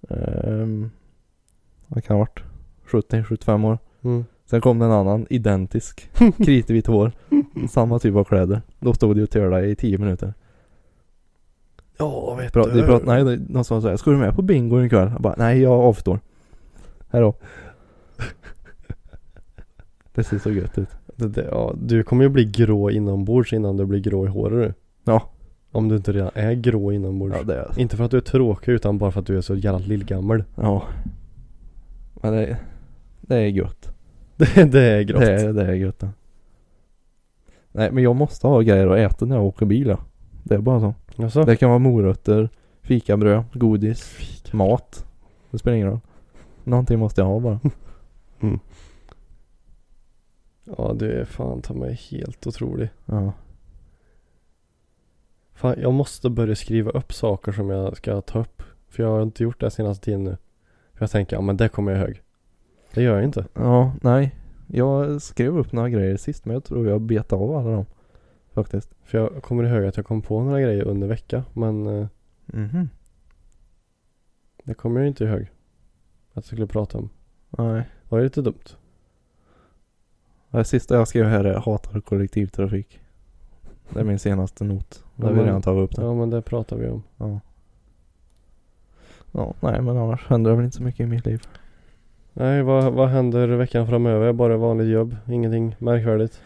[SPEAKER 2] Um, han kan ha varit 70-75 år.
[SPEAKER 1] Mm.
[SPEAKER 2] Sen kom det en annan identisk. Kritvitt hår. Samma typ av kläder. Då stod det ju och törlade i 10 minuter.
[SPEAKER 1] Ja vet
[SPEAKER 2] Pra,
[SPEAKER 1] du.
[SPEAKER 2] de prat, nej, det- någon sa såhär. Ska du med på bingo ikväll? Jag bara, nej jag avstår. Hejdå. Det ser så gött ut.
[SPEAKER 1] Det, det, ja, du kommer ju bli grå inombords innan du blir grå i håret du.
[SPEAKER 2] Ja.
[SPEAKER 1] Om du inte redan är grå inombords.
[SPEAKER 2] Ja det är
[SPEAKER 1] Inte för att du är tråkig utan bara för att du är så jävla lillgammal.
[SPEAKER 2] Ja. Men det, det är gött.
[SPEAKER 1] Det, det är grått.
[SPEAKER 2] Det är, det är gött det. Nej men jag måste ha grejer att äta när jag åker bil ja. Det är bara så.
[SPEAKER 1] Jaså?
[SPEAKER 2] Det kan vara morötter, fikabröd, godis, mat. Det spelar ingen roll. Någonting måste jag ha bara.
[SPEAKER 1] Ja du är fan ta mig helt otrolig.
[SPEAKER 2] Ja.
[SPEAKER 1] Fan jag måste börja skriva upp saker som jag ska ta upp. För jag har inte gjort det senaste tiden nu. För jag tänker, ja men det kommer jag ihåg. Det gör jag inte.
[SPEAKER 2] Ja, nej. Jag skrev upp några grejer sist men jag tror jag betade av alla dem. Faktiskt.
[SPEAKER 1] För jag kommer ihåg att jag kom på några grejer under vecka. Men eh,
[SPEAKER 2] Mhm.
[SPEAKER 1] det kommer jag inte ihåg. Att jag skulle prata om.
[SPEAKER 2] Nej.
[SPEAKER 1] Var det lite dumt?
[SPEAKER 2] Det sista jag skrev här är hatar kollektivtrafik. Det är min senaste not. Det
[SPEAKER 1] Ja,
[SPEAKER 2] har vi
[SPEAKER 1] men-
[SPEAKER 2] redan tagit upp det.
[SPEAKER 1] Ja men det pratar vi om.
[SPEAKER 2] Ja. Ja, nej men annars händer det väl inte så mycket i mitt liv.
[SPEAKER 1] Nej, vad, vad händer veckan framöver? Bara vanligt jobb, ingenting märkvärdigt.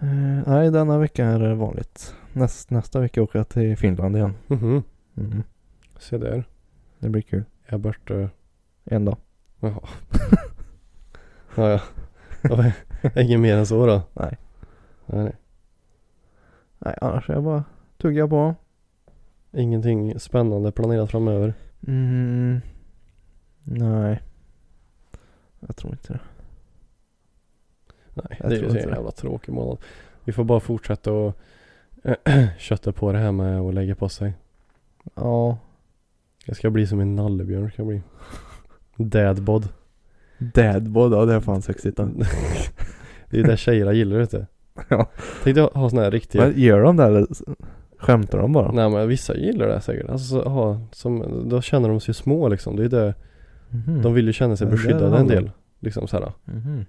[SPEAKER 2] Eh, nej, denna vecka är det vanligt. Näst, nästa vecka åker jag till Finland igen.
[SPEAKER 1] Mhm,
[SPEAKER 2] Mm.
[SPEAKER 1] se där.
[SPEAKER 2] Det blir kul.
[SPEAKER 1] Jag är borta.
[SPEAKER 2] En dag.
[SPEAKER 1] Jaha. ja, ja. Ja, men, Inget mer än så då?
[SPEAKER 2] Nej.
[SPEAKER 1] Nej, nej.
[SPEAKER 2] Nej, annars är jag bara tugga på.
[SPEAKER 1] Ingenting spännande planerat framöver.
[SPEAKER 2] Mm. Nej. Jag tror inte det.
[SPEAKER 1] Nej,
[SPEAKER 2] Jag
[SPEAKER 1] det är ju
[SPEAKER 2] tror
[SPEAKER 1] så
[SPEAKER 2] inte
[SPEAKER 1] en
[SPEAKER 2] det.
[SPEAKER 1] jävla tråkig månad. Vi får bara fortsätta och kötta på det här med att lägga på sig.
[SPEAKER 2] Ja.
[SPEAKER 1] Jag ska bli som en nallebjörn ska jag bli. Dadbod.
[SPEAKER 2] Dadbod, ja det är fan sexigt. då.
[SPEAKER 1] Det är det tjejerna gillar vet du.
[SPEAKER 2] Mm. Ja.
[SPEAKER 1] Tänkte jag ha såna här riktiga.
[SPEAKER 2] Men gör de det eller s- skämtar de bara?
[SPEAKER 1] Nej men vissa gillar det säkert. Alltså så- ha, som, då känner de sig små liksom. Det är det.
[SPEAKER 2] Mhm.
[SPEAKER 1] De vill ju känna sig
[SPEAKER 2] Ja, det är
[SPEAKER 1] beskyddade
[SPEAKER 2] det
[SPEAKER 1] en
[SPEAKER 2] handlar
[SPEAKER 1] del. Liksom så här.
[SPEAKER 2] Mhm.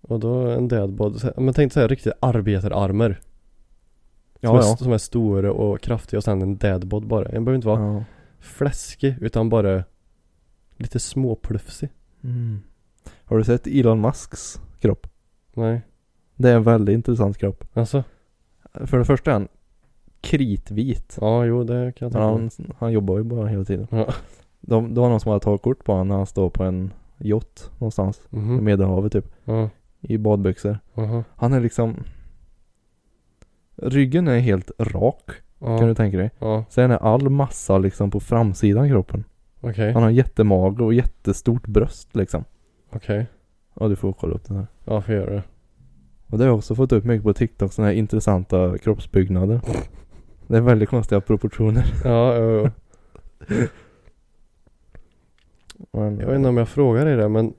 [SPEAKER 1] Och då en dadbod. Så här- Men tänk så här riktiga arbetararmar. Som,
[SPEAKER 2] Ja,
[SPEAKER 1] är,
[SPEAKER 2] ja.
[SPEAKER 1] som är stora och kraftiga och sen en dadbod bara. Den behöver inte vara
[SPEAKER 2] ja.
[SPEAKER 1] fläskig utan bara lite småplufsig.
[SPEAKER 2] Mm. Har du sett Elon Musks kropp?
[SPEAKER 1] Nej.
[SPEAKER 2] Det är en väldigt intressant kropp.
[SPEAKER 1] Alltså?
[SPEAKER 2] För det första är han kritvit.
[SPEAKER 1] Ja jo det kan jag tänka
[SPEAKER 2] Men
[SPEAKER 1] mig.
[SPEAKER 2] Han, han jobbar ju bara hela tiden.
[SPEAKER 1] Ja.
[SPEAKER 2] De, det var någon som hade tagit kort på honom när han står på en yacht någonstans. I
[SPEAKER 1] Mhm.
[SPEAKER 2] Medelhavet typ.
[SPEAKER 1] Ja.
[SPEAKER 2] I badbyxor.
[SPEAKER 1] Aha.
[SPEAKER 2] Han är liksom Ryggen är helt rak
[SPEAKER 1] Ja.
[SPEAKER 2] kan du tänka dig.
[SPEAKER 1] Ja.
[SPEAKER 2] Sen är all massa liksom på framsidan av kroppen.
[SPEAKER 1] Okej.
[SPEAKER 2] Han har jättemage och jättestort bröst liksom.
[SPEAKER 1] Okej.
[SPEAKER 2] Ja du får kolla upp den här.
[SPEAKER 1] Ja får göra det.
[SPEAKER 2] Och det har jag också fått upp mycket på TikTok. Sådana här intressanta kroppsbyggnader. Det är väldigt konstiga proportioner.
[SPEAKER 1] Ja jo, jo.
[SPEAKER 2] Men,
[SPEAKER 1] Jag vet inte om jag frågar dig det men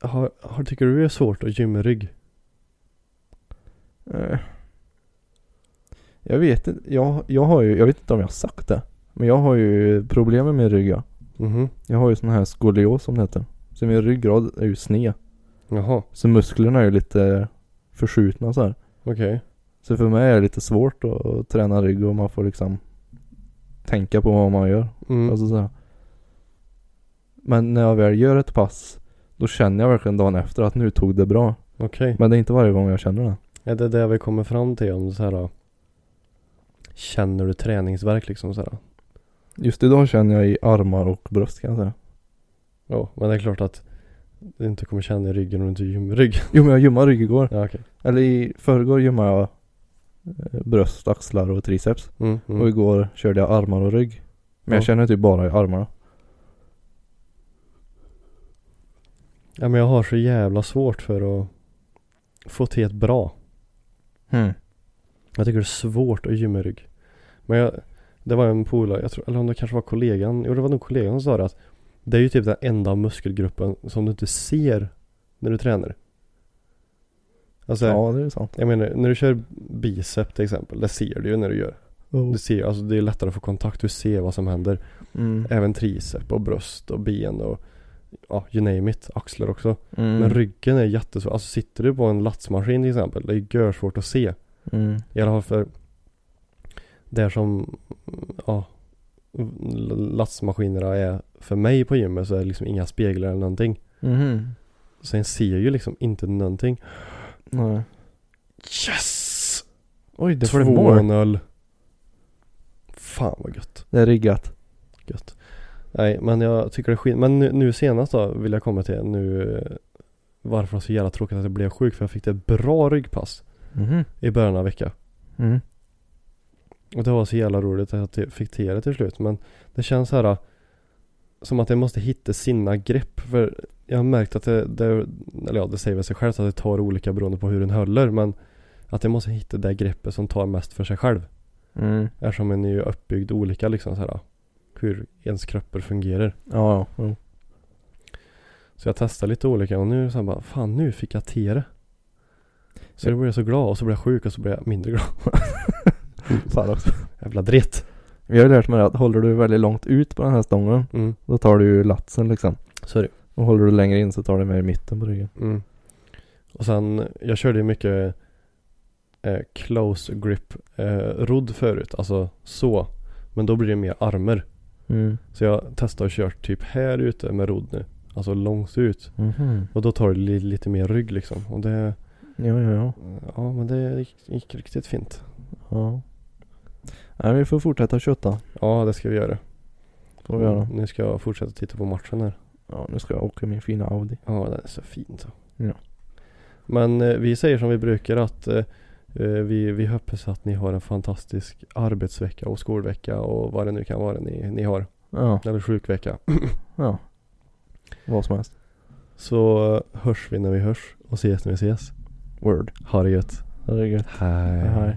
[SPEAKER 1] har, har, tycker du det är svårt att gymma rygg?
[SPEAKER 2] Eh, Jag vet inte. Jag, jag har ju, jag vet inte om jag har sagt det. Men jag har ju problem med min rygg ja.
[SPEAKER 1] Mhm.
[SPEAKER 2] Jag har ju sån här skolios som det heter. Så min ryggrad är ju sned.
[SPEAKER 1] Jaha.
[SPEAKER 2] Så musklerna är ju lite förskjutna så här.
[SPEAKER 1] Okej.
[SPEAKER 2] Så för mig är det lite svårt att, att träna rygg och man får liksom tänka på vad man gör.
[SPEAKER 1] Mm.
[SPEAKER 2] Alltså så här. Men när jag väl gör ett pass då känner jag verkligen dagen efter att nu tog det bra.
[SPEAKER 1] Okej.
[SPEAKER 2] Men det är inte varje gång jag känner det.
[SPEAKER 1] Är det det vi kommer fram till om så här då? Känner du träningsvärk liksom så här? då?
[SPEAKER 2] Just idag känner jag i armar och bröst kan jag säga.
[SPEAKER 1] Ja men det är klart att du inte kommer känna i ryggen om du inte gymmar rygg.
[SPEAKER 2] Jo men jag gymmade rygg igår.
[SPEAKER 1] Ja okej.
[SPEAKER 2] Eller i förrgår gymmade jag eh, bröst, axlar och triceps.
[SPEAKER 1] Mm, mm.
[SPEAKER 2] Och igår körde jag armar och rygg. Men jag
[SPEAKER 1] Ja.
[SPEAKER 2] känner typ bara i armarna.
[SPEAKER 1] Ja men jag har så jävla svårt för att få till ett bra.
[SPEAKER 2] Hmm.
[SPEAKER 1] Jag tycker det är svårt att gymma rygg. Men jag, det var en polare, jag tror, eller om det kanske var kollegan, jo det var nog kollegan som sa det att det är ju typ den enda muskelgruppen som du inte ser när du tränar. Alltså,
[SPEAKER 2] Ja det är sant.
[SPEAKER 1] jag menar, när du kör bicep till exempel, det ser du ju när du gör.
[SPEAKER 2] Oh.
[SPEAKER 1] Du ser, alltså det är lättare att få kontakt, du ser vad som händer.
[SPEAKER 2] Mm.
[SPEAKER 1] Även tricep och bröst och ben och ja, you name it, axlar också.
[SPEAKER 2] Mm.
[SPEAKER 1] Men ryggen är jättesvår, alltså sitter du på en latsmaskin till exempel, det är görsvårt att se.
[SPEAKER 2] Mm.
[SPEAKER 1] I alla fall för där som ja, l- lastmaskinerna är för mig på gymmet så är det liksom inga speglar eller någonting.
[SPEAKER 2] Mhm.
[SPEAKER 1] Så en ser ju liksom inte någonting.
[SPEAKER 2] Nej.
[SPEAKER 1] Yes!
[SPEAKER 2] Oj det var det mål.
[SPEAKER 1] 2-0. Fan vad gött.
[SPEAKER 2] Det är riggat.
[SPEAKER 1] gött. Nej men jag tycker det är skit. Men nu, nu senast då vill jag komma till nu eh, varför det var så jävla tråkigt att jag blev sjuk för jag fick ett bra ryggpass
[SPEAKER 2] Mhm.
[SPEAKER 1] i början av veckan.
[SPEAKER 2] Mm.
[SPEAKER 1] Och det var så jävla roligt att jag fick till det till slut. Men det känns så här äh, som att jag måste hitta sina grepp. För jag har märkt att det, det eller ja det säger väl sig självt att det tar olika beroende på hur den håller. Men att jag måste hitta det greppet som tar mest för sig själv.
[SPEAKER 2] Mm.
[SPEAKER 1] Eftersom en är ju uppbyggd olika liksom så här hur ens kroppar fungerar.
[SPEAKER 2] Ja ja. Jo.
[SPEAKER 1] Så jag testar lite olika och nu så här bara, fan nu fick jag till det. Så jag blev så glad och så blev jag sjuk och så blev jag mindre glad.
[SPEAKER 2] Fan också.
[SPEAKER 1] Jävla dritt.
[SPEAKER 2] Vi har ju lärt mig det att håller du väldigt långt ut på den här stången
[SPEAKER 1] Mm,
[SPEAKER 2] då tar du ju latsen liksom.
[SPEAKER 1] sorry.
[SPEAKER 2] Och håller du längre in så tar du mer i mitten på ryggen.
[SPEAKER 1] Mm. Och sen, jag körde ju mycket eh, close grip eh, rodd förut, alltså så. Men då blir det mer armar.
[SPEAKER 2] Mm.
[SPEAKER 1] Så jag testar och kört typ här ute med rodd nu. Alltså långt ut.
[SPEAKER 2] Mhm.
[SPEAKER 1] Och då tar det li- lite mer rygg liksom. Och det,
[SPEAKER 2] Ja, ja, ja.
[SPEAKER 1] ja men det gick, gick riktigt fint.
[SPEAKER 2] ja. Nej, vi får fortsätta kötta.
[SPEAKER 1] Ja det ska vi göra. Mm,
[SPEAKER 2] Får vi göra.
[SPEAKER 1] Nu ska jag fortsätta titta på matchen här.
[SPEAKER 2] Mm. Ja, nu ska jag åka min fina Audi.
[SPEAKER 1] Ja den är så fin så.
[SPEAKER 2] Ja.
[SPEAKER 1] Men eh, vi säger som vi brukar att eh, eh, vi, vi hoppas att ni har en fantastisk arbetsvecka och skolvecka och vad det nu kan vara ni, ni har.
[SPEAKER 2] Ja,
[SPEAKER 1] Eller sjukvecka.
[SPEAKER 2] ja. Vad som helst.
[SPEAKER 1] Så eh, hörs vi när vi hörs och ses när vi ses.
[SPEAKER 2] Word.
[SPEAKER 1] Ha det gött.
[SPEAKER 2] Det är gött. Hej.